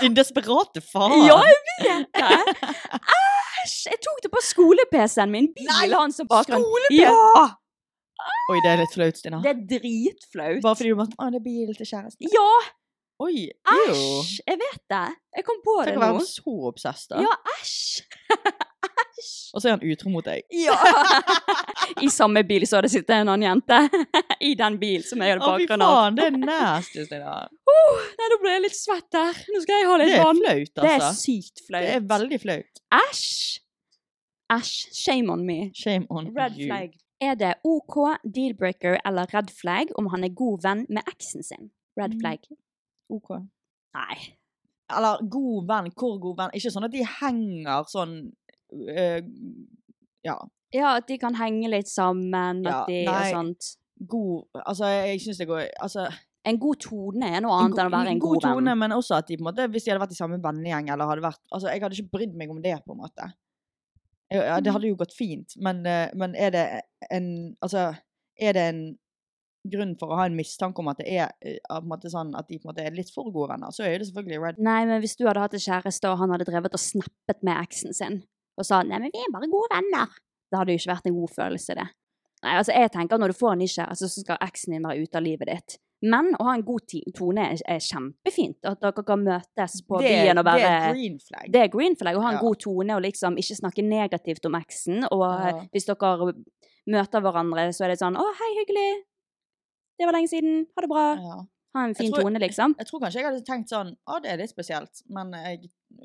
Din desperate faen.
Ja, jeg vet det! Æsj! Jeg tok det på skole-PC-en min.
Nei,
Bilen hans som bakgrunn.
skole-PC?
Ja!
Oi, det er litt flaut, Stina.
Det er dritflaut.
Bare fordi du måtte Å, det er bil til kjæresten.
Ja,
Oi. Ew.
æsj! Jeg vet det. Jeg kom på det
Tenk å
nå.
være så obsess, da.
Ja, æsj! æsj!
Og så er han utro mot deg.
Ja! I samme bil så hadde det sittet en annen jente. I den bilen som jeg hadde
Å, fy
bakgrunn av.
faen, det er nasty, Stina.
Oh, nei, nå ble jeg litt svett der. Nå skal jeg ha
Det
litt
er
vann.
flaut,
Det er
altså.
sykt
Det
flaut.
er veldig flaut.
Æsj! Æsj. Shame on me.
Shame on
Red
you.
flag. Er det OK, deal-breaker eller red flag om han er god venn med eksen sin? Red
Mm.
flag.
Ok.
Nei.
Eller god venn, hvor god venn? Ikke sånn at de henger sånn øh, Ja.
Ja, at de kan henge litt sammen,
Ja,
at de
nei.
og sånt.
God Altså, jeg syns det går Altså
En god tone er noe annet enn å være en god,
tone,
venn.
men også at de på en måte Hvis de hadde vært i samme vennegjeng, eller hadde vært Altså, jeg hadde ikke brydd meg om det, på en måte. Jeg- Ja,
Mm.
det hadde jo gått fint, men, eh, men er det en Altså, er det en grunn for å ha en mistanke om at det er eh, av på en måte sånn at de på en måte er litt for gode venner, så er det selvfølgelig red
Nei, men hvis du hadde hatt en kjæreste, og han hadde drevet og snappet med eksen sin, og sa 'nei, men vi er bare gode venner', det hadde jo ikke vært en god følelse, det. Nei, altså, jeg tenker at når du får en ny kjæreste, så skal eksen din være ute av livet ditt. Men å ha en god ti- tone er, er kjempefint. At dere kan møtes på
det,
byen
det
og være
er green flag.
det er green flag å ha en
Ja.
god tone og liksom ikke snakke negativt om eksen. Og
Ja.
hvis dere møter hverandre, så er det sånn 'Å, hei, hyggelig'. 'Det var lenge siden. Ha det bra.'
ja.
Ha en fin
tror-
tone, liksom.
Jeg tror kanskje jeg hadde tenkt sånn Ja, det er litt spesielt, men jeg,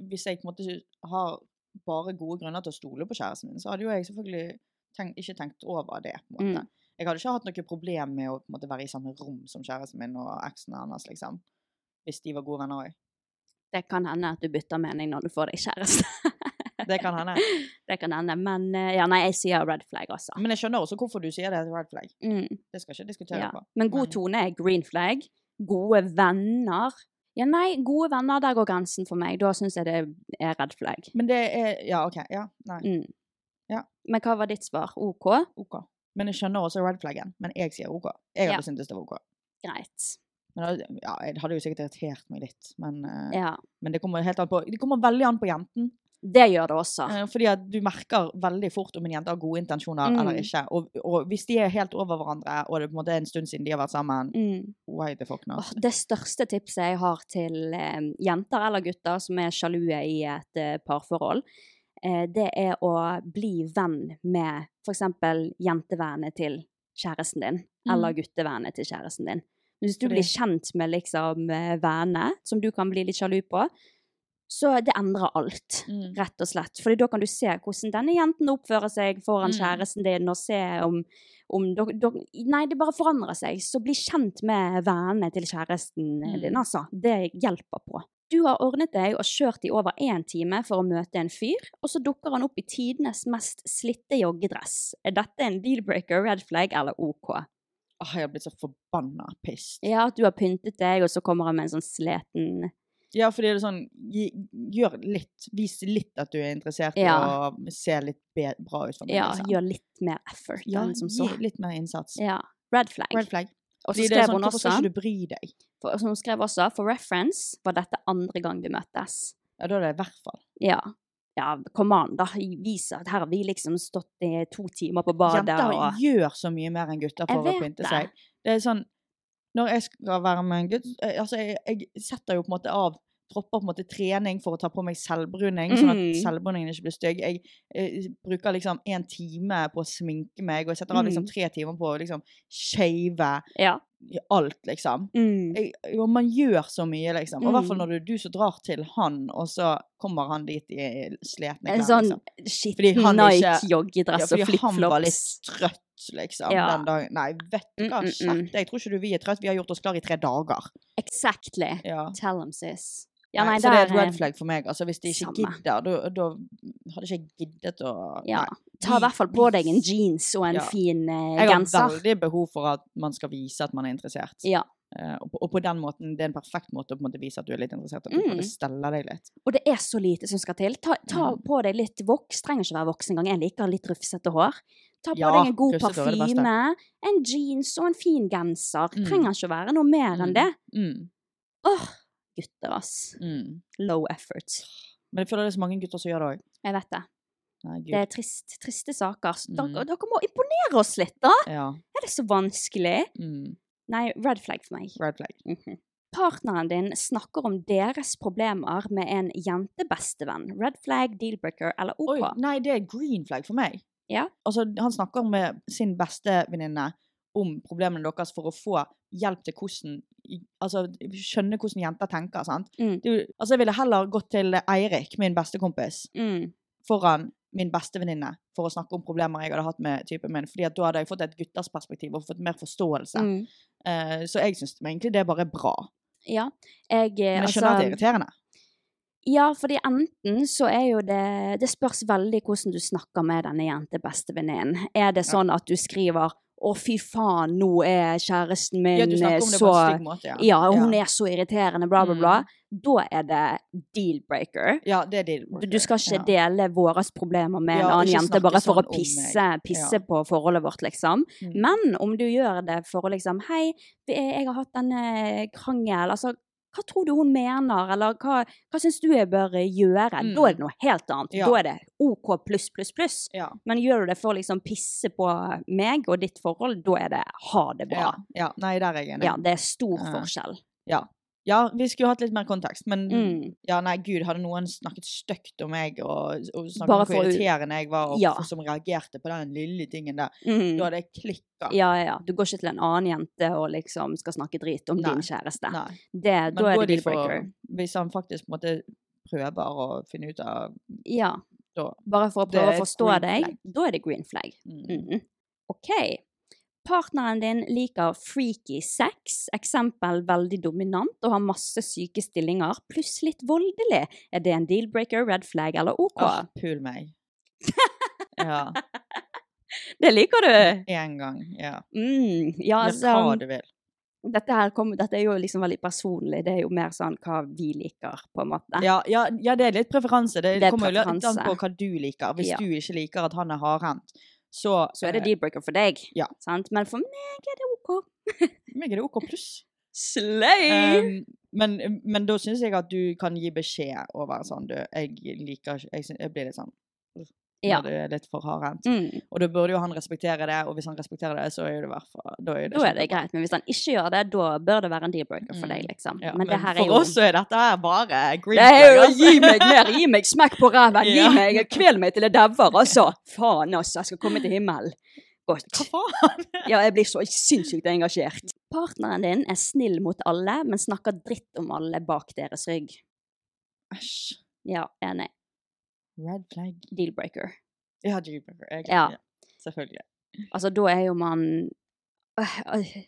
hvis jeg på en måte ikke har bare gode grunner til å stole på kjæresten min, så hadde jo jeg selvfølgelig tenkt, ikke tenkt over det. på en måte.
Mm.
Jeg hadde ikke hatt noe problem med å på en måte, være i samme rom som kjæresten min og eksen hennes, liksom. Hvis de var gode venner òg.
Det kan hende at du bytter mening når du får deg kjæreste.
Det kan hende.
Det kan hende. Men eh, ja, nei, jeg sier red flag, altså.
Men jeg skjønner også hvorfor du sier det er et red flag.
Mm,
Det skal jeg ikke diskutere
ja.
på.
Men god tone er green flag. Gode venner Ja, nei, gode venner, der går grensen for meg. Da syns jeg det er red flag.
Men det er Ja, OK. Ja. Nei.
Mm.
Ja.
Men hva var ditt svar? OK?
OK. Men jeg skjønner også red flaggen. Men jeg sier OK. Jeg
Ja.
hadde syntes det var OK.
Greit.
Men da- ja, det hadde jo sikkert irritert meg litt, men eh,
Ja.
Men det kommer, helt an på, det kommer veldig an på jenten.
Det gjør det også.
Eh, Fordi at du merker veldig fort om en jente har gode intensjoner
Mm.
eller ikke. Og, og hvis de er helt over hverandre, og det på en måte er en stund siden de har vært sammen
Mm.
Why the fuck not?
Åh, det største tipset jeg har til eh, jenter eller gutter som er sjalue i et eh, parforhold, eh, det er å bli venn med f.eks. jentevennene til kjæresten din, eller guttevennene til kjæresten din. Hvis du
Fordi-
blir kjent med liksom eh, vennene, som du kan bli litt sjalu på, Så det endrer alt,
Mm.
rett og slett. Fordi da kan du se hvordan denne jenten oppfører seg foran
Mm.
kjæresten din, og se om, om dok- dok- Nei, det bare forandrer seg. Så bli kjent med vennene til kjæresten
Mm.
din, altså. Det hjelper på. Du har ordnet deg og kjørt i over én time for å møte en fyr, og så dukker han opp i tidenes mest slitte joggedress. Er dette en deal-breaker, red flag eller OK?
Åh, Ah, jeg har blitt så forbanna pissed.
Ja, at du har pyntet deg, og så kommer han med en sånn sleten
Ja, fordi det er sånn gi- Gjør litt. Vis litt at du er interessert,
Ja.
og se litt be bra ut for meg.
Ja,
liksom.
eh, gjør litt mer effort
ja, liksom,
enn som så.
Gi litt mer innsats.
Ja. Red flag.
Red flag.
Og så
Fordi det er
skrev
sånn,
hun
hvorfor
også
skal ikke du bry deg?
for, Hun skrev også For reference var dette andre gang vi møttes.
Ja, da er det i hvert fall.
Ja. Ja, kom an, da. Vis at her har vi liksom stått i to timer på badet
Jenter
og
gjør så mye mer enn gutter
Jeg
for å
vet
pynte
det.
seg. Det er sånn Når jeg skal være med en gutt eh, Altså, jeg, jeg setter jo på en måte av Dropper på en måte trening for å ta på meg selvbruning, sånn at
Mhm.
selvbruningen ikke blir stygg. Jeg, eh, bruker liksom en time på å sminke meg, og jeg setter av liksom
Mhm.
tre timer på å liksom shave
Ja.
alt, liksom.
Mm.
Jeg, jo, man gjør så mye, liksom. Og i hvert fall
Mhm.
når det er du som drar til han, og så kommer han dit i slitne klær.
En sånn
liksom. Fordi
skitten
han er ikke- Ja,
Nike-joggedress og
fordi han var
flipflops.
litt trøtt, liksom,
Ja.
den dagen. Nei, vet du hva,
Mm, mm, mm.
skjerp deg. Jeg tror ikke du vi er trøtt. Vi har gjort oss klar i tre dager.
Exactly.
Ja.
Tell them, sis. Ja,
Nei,
nei,
så det er et
der, eh,
red flag for meg. Altså, hvis de ikke
samme.
gidder, da, da hadde ikke jeg giddet å
Ja.
Nei.
Ta i hvert fall på deg en
Vis.
jeans og en
Ja.
fin eh,
Jeg har
genser.
veldig behov for at man skal vise at man er interessert.
Ja.
Eh, og, på, og på den måten, det er en perfekt måte å på en måte vise at du er litt interessert, at du
Mm.
mm. steller deg litt.
Og det er så lite som skal til. Ta, ta
Mm.
på deg litt voks. Trenger ikke være voks engang. Jeg liker litt rufsete hår. Ta på
Ja,
deg en god
rufsete hår er det beste.
parfyme, en jeans og en fin genser.
Mm.
Trenger ikke være noe mer
Mm.
enn det.
Mm.
Åh, gutter, ass.
Mm.
Low effort.
Men jeg føler det er så mange gutter som gjør det òg.
Jeg vet det.
Nei,
Det
gud.
er trist, triste saker. Så Dere,
Mm.
dere må imponere oss litt, da!
Ja.
Er det så vanskelig?
Mm.
Nei, red flag for meg.
Red flag.
Mhm. Partneren din snakker om deres problemer med en jentebestevenn. Red flag, dealbreaker eller OK?
Oi, nei, det er green flag for meg.
Ja.
Altså, han snakker med sin beste venninne om problemene deres for å få hjelp til hvordan Altså, skjønne hvordan jenter tenker, sant?
Mm.
Det er jo- altså, jeg ville heller gått til Eirik, min beste kompis,
Mm.
foran min beste venninne for å snakke om problemer jeg hadde hatt med typen min, fordi at da hadde jeg fått et gutters perspektiv og fått mer forståelse.
Mm.
Eh, så jeg syns egentlig det er bare bra.
Ja. Jeg, eh,
Men jeg
altså,
skjønner at det er irriterende.
Ja, fordi enten så er jo det Det spørs veldig hvordan du snakker med denne jentebestevenninnen. Er det
Ja.
sånn at du skriver 'Å, fy faen, nå er kjæresten min
Ja, du
eh,
snakker om det på en
så
stygg måte, ja.
Ja, hun er så irriterende, bla, bla,
Mm.
bla. Da er det deal-breaker.
Ja, det er deal
Du, du skal ikke
breaker,
dele våre problemer med en
Ja,
annen
ikke
jente
snakke
bare for
sånn
å
om
pisse, pisse
Ja.
på forholdet vårt, liksom.
ja. Mm.
Men om du gjør det for å liksom Hei, vi- jeg har hatt denne krangel. Altså, hva tror du hun mener, eller hva, hva syns du jeg bør gjøre?
Mm.
Da er det noe helt annet.
Ja.
Da er det OK pluss, pluss, pluss.
Ja.
Men gjør du det for å liksom pisse på meg og ditt forhold, da er det ha det
Ja,
bra.
ja. Nei, der er jeg
Ja,
enig.
det er stor
Ja.
forskjell.
Ja, vi skulle hatt litt mer kontekst, men
Mm.
ja, nei, gud, hadde noen snakket stygt om meg, og, og snakket
Bare
om hvor
for å-
irriterende jeg var, og
Ja.
for- som reagerte på den lille tingen der,
Mm.
da hadde jeg klikka.
Ja, ja, ja. Du går ikke til en annen jente og liksom skal snakke drit om
Nei.
din kjæreste.
Nei.
Det, da
Men
er
går
det
de
deal
for
breaker.
Hvis han faktisk på en måte prøver å finne ut av
Ja.
Da.
Bare for å
Det er
prøve
et
å
green
forstå deg,
flag.
da er det green flag.
mm,
Mhm. OK. Partneren din liker freaky sex, eksempel veldig dominant og har masse syke stillinger, pluss litt voldelig. Er det en deal-breaker, red flag eller OK?
Åh, pul meg. Ja.
Det liker du!
Én gang. Ja.
Mm, ja,
Gjør hva
altså,
du vil.
dette, her kom, dette er jo liksom veldig personlig. Det er jo mer sånn hva vi liker, på en måte.
Ja, ja, ja, det er litt preferanse. Det,
Ah. Det er
kommer jo litt an
preferanse.
på hva du liker. Hvis
Ja.
du ikke liker at han er hardhendt, så
Så er det
eh,
deal-breaker for deg.
ja.
Sant? Men for meg er det OK.
meg er det OK pluss.
Slay!
Um, men, men da syns jeg at du kan gi beskjed og være sånn du, jeg liker ikke jeg, syn- jeg blir litt sånn
Ja.
når det er litt for hardhendt.
Mm.
Og da burde jo han respektere det, og hvis han respekterer det, så er jo det i hvert fall Da er det, sånn.
Da er det
kjempebra.
greit, men hvis han ikke gjør det, da bør det være en deal-breaker for deg,
Mm.
liksom.
Ja,
men, det her
for
er jo
oss så er dette her bare green
Det er jo
flag, altså.
gi meg mer, gi meg smekk på ræven, gi
Ja.
meg, kvel meg til jeg dauer, altså. Faen, altså, jeg skal komme til himmelen. Godt.
Hva faen?
Ja, jeg blir så sinnssykt engasjert. Partneren din er snill mot alle, men snakker dritt om alle bak deres rygg.
Æsj.
Ja, enig.
Red flag.
Deal-breaker.
Ja, dealbreaker. Jeg-
Ja.
Selvfølgelig.
Altså, da er jo man Øh, øh.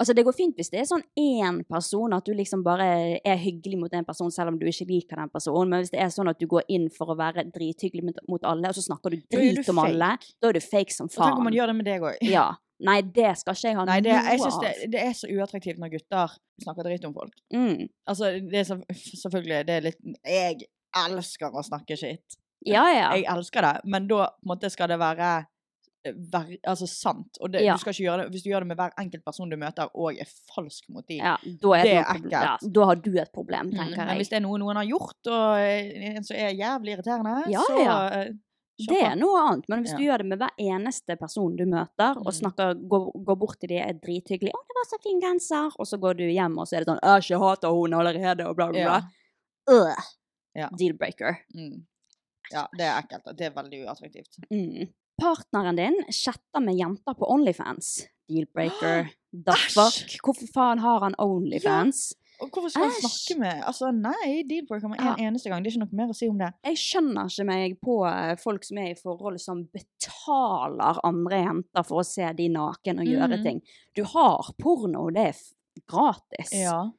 Altså, det går fint hvis det er sånn én person, at du liksom bare er hyggelig mot en person selv om du ikke liker den personen, men hvis det er sånn at du går inn for å være drithyggelig mot, mot alle, og så snakker du
Da er du
drit om alle, da er du fake som
Og tenk om
faen.
man gjør det med deg òg.
Ja. Nei, det skal ikke jeg ha
Nei, det, jeg
noe
synes det,
av.
det er så uattraktivt når gutter snakker dritt om folk.
Mm.
Altså, det er så, selvfølgelig det er litt Jeg elsker å snakke skitt.
Ja, ja.
Jeg elsker det, men da på en måte skal det være eh, ver, altså sant. Og det,
Ja.
du skal ikke gjøre det hvis du gjør det med hver enkelt person du møter, og er falsk mot dem.
ja da, er
Det
det
er
noe problem.
ekkelt. Mm,
ja, da har du et problem, tenker
Men
jeg.
hvis det er noe noen har gjort, og eh, en som er jævlig irriterende,
Ja,
så
ja.
eh, kjør
Det
på.
er noe annet, men hvis
Ja.
du gjør det med hver eneste person du møter, og
Mm.
snakker, går, går bort til de er drithyggelig 'Å, det var så fin genser', og så går du hjem, og så er det sånn 'Æsj, jeg hater hun allerede', og bla, bla,
Ja.
bla. Øh.
Ja.
Deal-breaker.
Mm. Ja, det er ekkelt. og Det er veldig uattraktivt.
Mm. Partneren din chatter med jenter på Onlyfans. Deal-breaker. Daffak. Hvorfor faen har han Onlyfans?
Og hvorfor skal man
Æsj.
snakke med Altså, nei, dealbreaker med en
Ja.
eneste gang. Det er ikke noe mer å si om det.
Jeg skjønner ikke meg på eh, folk som er i forhold som betaler andre jenter for å se de naken og gjøre
Mhm.
ting. Du har porno, det er f- gratis.
Ja.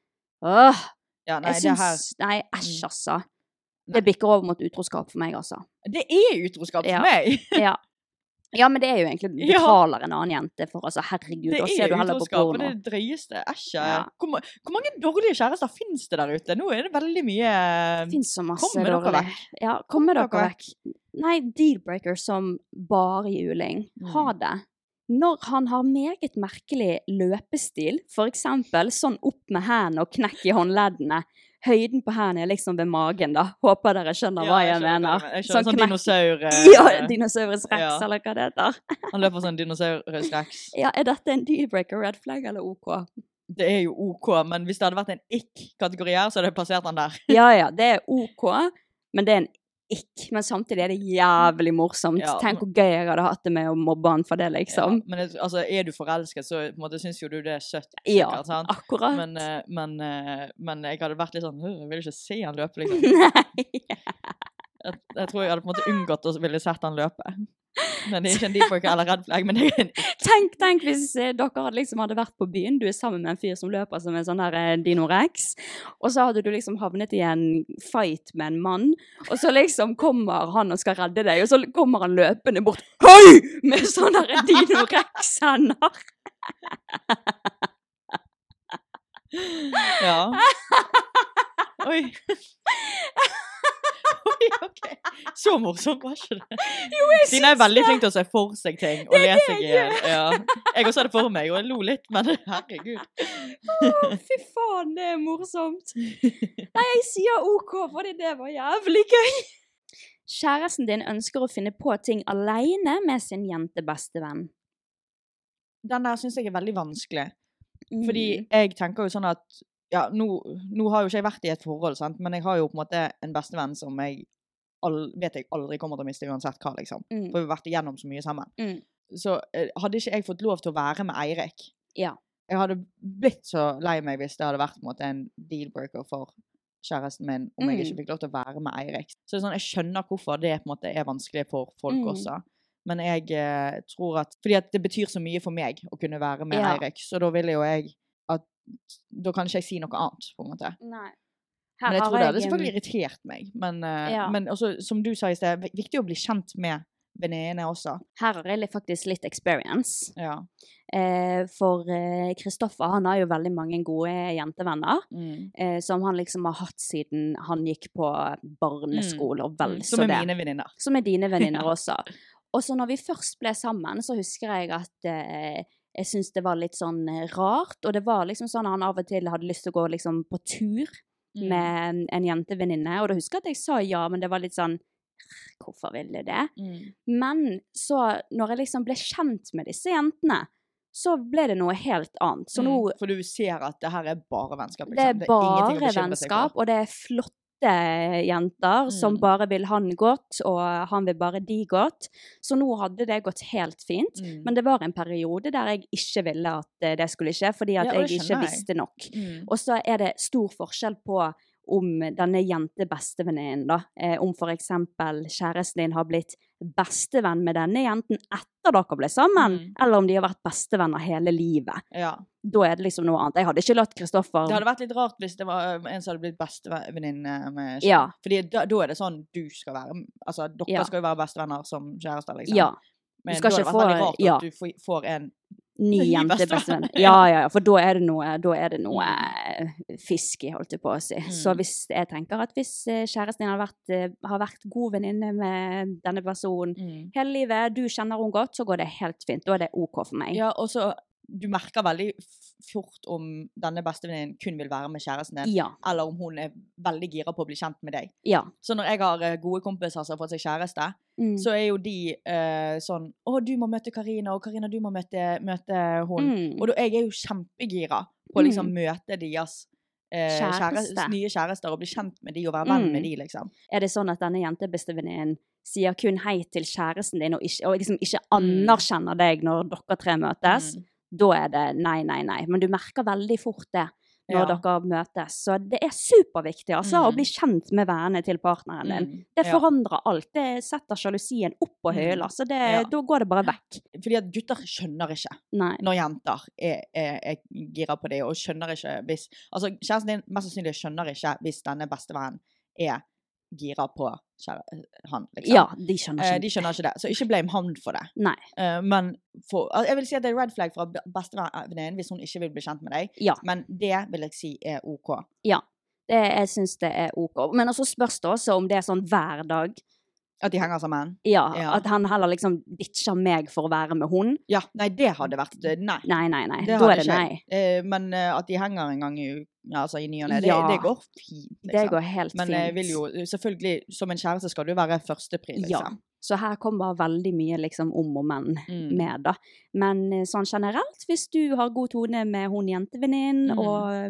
Åh,
ja nei,
jeg
det her
syns Nei, æsj,
Mm.
altså.
Nei.
Det bikker over mot utroskap for meg, altså.
Det er utroskap for
Ja.
meg!
Ja. ja, men det er jo egentlig du
Ja.
betaler en annen jente for, altså. Herregud,
Det
da ser
er
du heller på
utroskap, og det
porno.
er det drøyeste. Æsj.
Ja.
Hvor, ma- hvor mange dårlige kjærester fins det der ute? Nå er det veldig mye
Det fins så masse
Kom med dere
dårlig.
vekk.
Ja, kom med
Kom med
dere,
dere
vekk. Nei, dealbreaker som bare juling. Ha
Mm.
det. Når han har meget merkelig løpestil, for eksempel sånn opp med hendene og knekk i håndleddene. Høyden på hendene er liksom ved magen, da. Håper dere skjønner hva jeg, mener.
Jeg skjønner sånn
knekk-
dinosaur... eh,
Ja, dinosaurus rex,
Ja.
eller hva det heter.
Han løper sånn dinosaurus rex.
Ja, er dette en dealbreaker, red flag eller OK?
Det er jo OK, men hvis det hadde vært en ikk-kategori her, så hadde jeg plassert han der.
Ja ja, det er OK, men det er en ikk. Men samtidig er det jævlig morsomt.
Ja,
Tenk hvor gøy jeg hadde hatt det med å mobbe han for det, liksom.
Ja, men jeg- altså, er du forelsket, så på en måte syns jo du det er søtt.
Ja,
sikkert, sant?
akkurat.
Men, eh, men, eh, men jeg hadde vært litt sånn «Øh, Jeg vil ikke se han løpe, liksom.
Nei.
Jeg, jeg tror jeg hadde på en måte unngått å ville sett han løpe. Men det er ikke en deepworker eller red flag, men det er en
Tenk, tenk hvis eh, dere hadde liksom hadde vært på byen, du er sammen med en fyr som løper som en sånn der eh, dinorex, og så hadde du liksom havnet i en fight med en mann, og så liksom kommer han og skal redde deg, og så kommer han løpende bort, høy, med sånne der dinorex-hender.
Ja. Oi. Oi, ok. Så morsomt var ikke det.
Jo, jeg
Stine er
syns
veldig
det.
flink til å se for seg ting og
Det er det
lese
jeg
igjen. Ja. Jeg også hadde for meg, og jeg lo litt, men herregud.
Å, Fy faen, det er morsomt. Nei, jeg sier OK, fordi det var jævlig gøy. Kjæresten din ønsker å finne på ting alene med sin jentebestevenn.
Den der syns jeg er veldig vanskelig.
Mm.
Fordi jeg tenker jo sånn at ja, nå, nå har jo ikke jeg vært i et forhold, sant? men jeg har jo på en måte en bestevenn som jeg all, vet jeg aldri kommer til å miste uansett hva, liksom.
Mm.
For vi har vært igjennom så mye sammen.
Mm.
Så eh, hadde ikke jeg fått lov til å være med Eirik
Ja.
Jeg hadde blitt så lei meg hvis det hadde vært på en, måte, en deal-breaker for kjæresten min om jeg ikke
Mm.
fikk lov til å være med Eirik. Så det er sånn, jeg skjønner hvorfor det på en måte er vanskelig for folk
Mm.
også. Men jeg eh, tror at Fordi at det betyr så mye for meg å kunne være med
Ja.
Eirik, så da vil jo jeg at Da kan ikke jeg si noe annet, på en måte.
Nei. Her
Men jeg
har
tror det hadde
en-
selvfølgelig irritert meg. Men, eh,
Ja.
men også, som du sa i sted, vi- viktig å bli kjent med venninnene også.
Her har jeg litt- faktisk litt experience.
Ja.
Eh, for eh, Kristoffer han har jo veldig mange gode jentevenner.
Mm.
Eh, som han liksom har hatt siden han gikk på barneskole og vel
Mm.
så
Som er
det.
mine venninner.
Som er dine venninner
Ja.
også. Og så når vi først ble sammen, så husker jeg at eh, jeg syntes det var litt sånn eh, rart. Og det var liksom sånn han av og til hadde lyst til å gå liksom på tur
Mm.
med en- en jentevenninne. Og da husker jeg at jeg sa ja, men det var litt sånn Hvorfor ville du det?
Mm.
Men så, når jeg liksom ble kjent med disse jentene, så ble det noe helt annet. Så nå
Mm. For du ser at det her er bare vennskap. ikke
det
sant?
er
ingenting å
bare
bekymre seg for.
vennskap, og det er flotte jenter som
Mm.
bare vil han godt, og han vil bare de godt. Så nå hadde det gått helt fint.
Mm.
Men det var en periode der jeg ikke ville at eh, det skulle skje, fordi at
Ja, og det
jeg
skjønner
ikke
jeg.
visste nok.
Mm.
Og så er det stor forskjell på om denne jente-bestevenninnen, da. Eh, om f.eks. kjæresten din har blitt bestevenn med denne jenten etter dere ble sammen,
Mm.
eller om de har vært bestevenner hele livet.
Ja.
Da er det liksom noe annet. Jeg hadde ikke latt Kristoffer
Det hadde vært litt rart hvis det var øh, en som hadde blitt bestevenninne med kjæresten.
Ja.
Fordi da, da er det sånn du skal være Altså, dere
Ja.
skal jo være bestevenner som kjærester, liksom.
Ja.
Men
skal
da hadde
ikke
det vært veldig
få-
rart
ja.
at du får, får en
Ny
Ny
jente,
bestevenn.
bestevenn. Ja, ja, ja. For da er det noe, da er det noe eh, fisky, holdt jeg på å si. Så
Mm.
hvis jeg tenker at hvis eh, kjæresten din har vært, eh, har vært god venninne med denne personen hele livet, du kjenner hun godt, så går det helt fint. Da er det OK for meg.
Ja, og så Du merker veldig f- fort om denne bestevenninnen kun vil være med kjæresten din,
Ja.
eller om hun er veldig gira på å bli kjent med deg.
ja.
Så når jeg har eh, gode kompiser som har fått seg kjæreste,
Mm.
så er jo de eh, sånn Å, du må møte Karina, og Karina, du må møte, møte hun.
Mm.
Og da, jeg er jo kjempegira på å liksom
Mm.
møte deres eh,
Kjæreste.
kjæres- nye kjærester og bli kjent med de og være venn
Mm.
med de, liksom.
Er det sånn at denne jentebestevenninnen sier kun hei til kjæresten din, og, ikke, og liksom ikke anerkjenner deg når dere tre møtes?
Mm.
Da er det nei, nei, nei. Men du merker veldig fort det når
Ja.
dere møtes. Så det er superviktig altså, å
Mm.
bli kjent med vennene til partneren din.
Mm.
Det
Ja.
forandrer alt. Det setter sjalusien opp på
Mm.
høyla, så det,
Ja.
da går det bare vekk.
Fordi at gutter skjønner ikke
Nei.
når jenter er, er, er gira på det, og skjønner ikke hvis Altså, kjæresten din mest sannsynlig skjønner ikke hvis denne bestevennen er gira på kjære, han, liksom.
Ja, de skjønner
Eh,
ikke.
De skjønner ikke det, så ikke blame han for det.
Nei.
Eh, Men for, al- jeg vil si at det er red flag fra be- bestevenninnen hvis hun ikke vil bli kjent med deg,
Ja.
men det vil jeg si er OK.
Det, jeg syns det er OK. Men så spørs det også om det er sånn hver dag.
At de henger sammen.
Ja,
Ja.
At han heller liksom ditcher meg for å være med hun.
Ja, nei, det hadde vært eh, Nei.
Nei, nei, nei.
Det
da
hadde
er det
ikke
nei.
jeg. Eh, Men eh, at de henger en gang i, u- altså, i ny og ne, det,
Ja.
det går fint. Liksom.
Det går helt
Men
fint.
jeg vil jo eh, selvfølgelig, som en kjæreste skal du være førstepri,
Ja.
liksom.
Så her kommer veldig mye liksom om og men
Mm.
med, da. Men eh, sånn generelt, hvis du har god tone med hun jentevenninnen,
Mm.
og eh,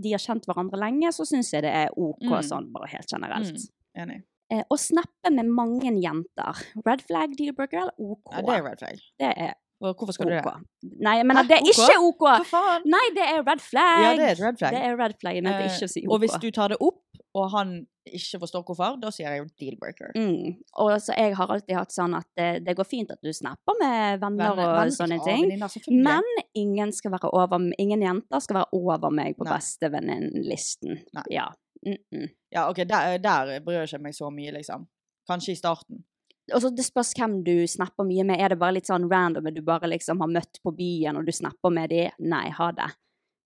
de har kjent hverandre lenge, så syns jeg det er OK
Mm.
sånn bare helt generelt.
Mm. Enig.
Eh, å snappe med mange jenter, red flag, deal breaker eller OK?
Ja, det er red flag.
Det er
Og hvorfor skal du det?
OK. Nei, men
Hæ?
det er ikke OK!
Hva faen?
Nei, det er red flag!
Ja, det er et red flag.
Det er red flaggen at det
Eh,
ikke å si OK.
Og hvis du tar det opp, og han ikke forstår hvorfor, da sier jeg jo deal-breaker.
Mm. Og altså, jeg har alltid hatt sånn at det, det går fint at du snapper med venner,
Venner-
og
venner-
sånne
ja,
ting,
venninner, selvfølgelig.
men ingen, skal være over, ingen jenter skal være over meg på
Nei.
bestevenninnelisten.
Nei.
Ja. Mm -mm.
Ja, ok, der, der bryr jeg ikke meg så mye, liksom. Kanskje i starten.
Og så Det spørs hvem du snapper mye med. Er det bare litt sånn random at du bare liksom har møtt på byen og du snapper med de? Nei, ha det.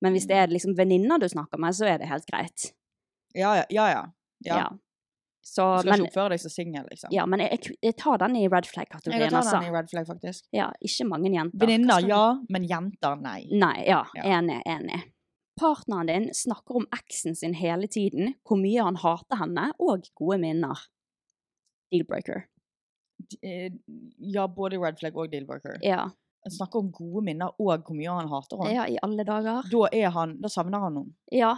Men hvis
Mm.
det er liksom venninner du snakker med, så er det helt greit.
Ja, ja, ja. ja. ja. Du
Så,
skal
men,
ikke oppføre deg som singel, liksom.
ja, men jeg, jeg- jeg tar den i red
jeg kan
flag-kategorien,
ta den i
altså.
red flag, faktisk.
Ja, ikke mange jenter.
Venninner,
Kanskje- Mm.
ja, men jenter, nei.
Nei, ja,
Ja.
enig, enig. Partneren din snakker om eksen sin hele tiden, hvor mye han hater henne, og gode minner. Dealbreaker.
D- eh, Ja, både red flag og deal-breaker.
Ja.
Snakker om gode minner og hvor mye han hater henne.
ja, i alle dager.
Da er han Da savner han noen.
Ja.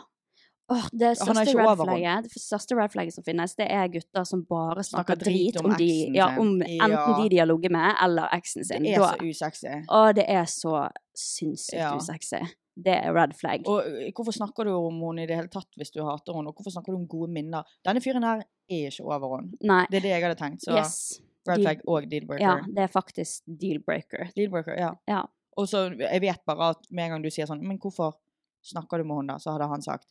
Åh, det
Han er
største
ikke
red
over henne.
flagget, det største red flagget som finnes, det er gutter som bare
Snakker
snakker,
drit
drit
om
om, de,
eksen
ja,
sin.
om enten
Ja.
de de har ligget med, eller eksen sin.
Det er
Da-
så usexy.
Åh, det er så sinnssykt
Ja.
usexy. Det er red flag.
Og ø, hvorfor snakker du om henne i det hele tatt hvis du hater henne? Og hvorfor snakker du om gode minner? Denne fyren her er ikke over henne.
Nei.
Det er det jeg hadde tenkt. Så
yes.
red
Deal-
flag og
Ja,
deal-breaker.
det er faktisk dealbreaker.
Deal-breaker, ja.
Ja.
Og så jeg vet bare at med en gang du sier sånn Men hvorfor snakker du med henne, da? Så hadde han sagt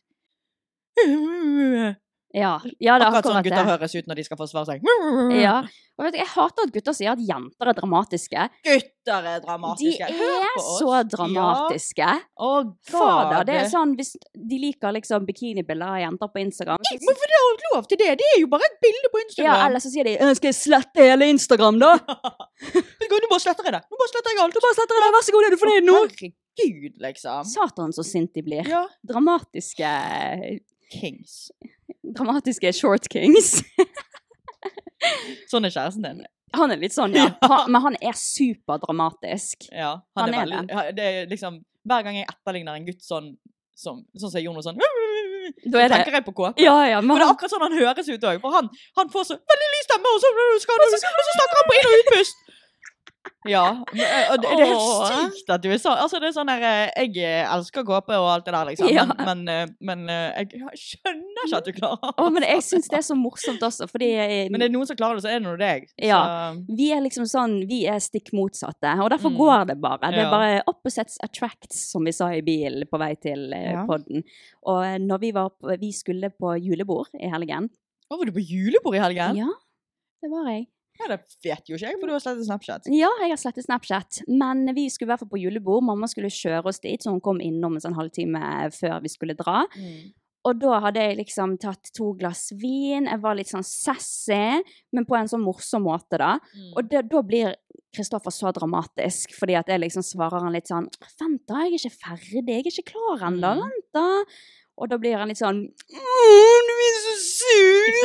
Ja, ja
Akkurat
det er akkurat,
sånn gutter
det.
høres ut når de skal forsvare seg. Mm. sånn,
Ja. Og vet du, jeg hater at gutter sier at jenter er dramatiske.
Gutter er dramatiske!
De
Hør
er
på oss.
så dramatiske.
Ja. Å,
Fader, det er
gud.
sånn hvis de liker liksom bikinibilder av jenter på Instagram.
Nei, men for det har lov til det! Det er jo bare et bilde på Instagram!
Ja, eller så sier de «Øh, 'Skal jeg slette hele Instagram, da?'
Vet du hva, Nå bare sletter jeg det! Nå bare sletter jeg alt!
Bare sletter jeg det, vær så god, er du fornøyd nå?
Herregud, liksom.
Satan, så sint de blir.
Ja.
Dramatiske
Kings.
Dramatiske short kings.
Sånn er kjæresten din.
Han er litt sånn, ja. Han, men han er superdramatisk.
Ja,
Han
han,
er
er veldig, ja, det er liksom, Hver gang jeg etterligner en gutt sånn som sånn som Jonas sånn Så
Da er det
tenker jeg på KP.
Ja, ja, men
For det er
han,
akkurat sånn han høres ut òg. For han, han får så veldig lys stemme, og så, skal han, og så snakker han på inn- og utpust! Ja. men, eh, og Det det er helt sykt at du er sånn. Altså, det er sånn der, eh, jeg eh, elsker gåpe og alt det der, liksom.
Ja.
Men, men, eh, men eh, jeg skjønner ikke at du klarer
Å, men jeg syns det er så morsomt også, fordi eh,
Men det er noen som klarer det, så er det nå deg.
Ja.
Så,
vi er liksom sånn Vi er stikk motsatte, og derfor
Mm.
går det bare. Det
Ja.
er bare opposites attracts, som vi sa i bilen på vei til eh,
Ja.
podden. Og eh, når vi var på, Vi skulle på julebord i helgen.
Å, var du på julebord i helgen?
Ja, det var jeg.
Ja, det vet jo ikke jeg, for du har slettet Snapchat.
Ja, jeg har slettet Snapchat. Men vi skulle i hvert fall på julebord. Mamma skulle kjøre oss dit, så hun kom innom en sånn halvtime før vi skulle dra. Og da hadde jeg liksom tatt to glass vin, jeg var litt sånn sassy, men på en sånn morsom måte, da. Og det, da blir Kristoffer så dramatisk, fordi at jeg liksom svarer han litt sånn Vent, da, jeg er ikke ferdig, jeg er ikke klar ennå,
Mm.
vent, da. Og da blir han litt sånn «Åh, Du er så sur!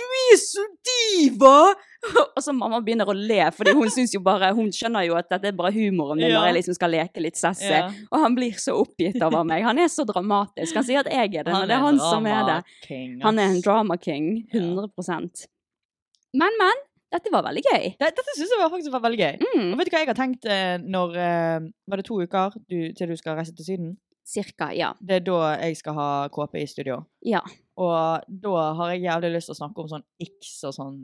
Du er så diva! Og så mamma begynner å le, fordi hun syns jo bare Hun skjønner jo at dette er bare humoren min
Ja.
når jeg liksom skal leke litt sassy.
Ja.
Og han blir så oppgitt over meg. Han er så dramatisk. Han sier at jeg er det, men det er han som er det.
King,
Han er en
ass.
drama king. 100 Men, men. Dette var veldig gøy.
Det- Dette syns jeg var faktisk var veldig gøy. Og
Mm,
vet du hva jeg har tenkt eh, når eh, Var det to uker du, til du skal reise til Syden?
cirka, ja.
Det er da jeg skal ha KP i studio.
Ja.
Og da har jeg jævlig lyst til å snakke om sånn X og sånn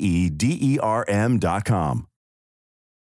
E D E R M.com.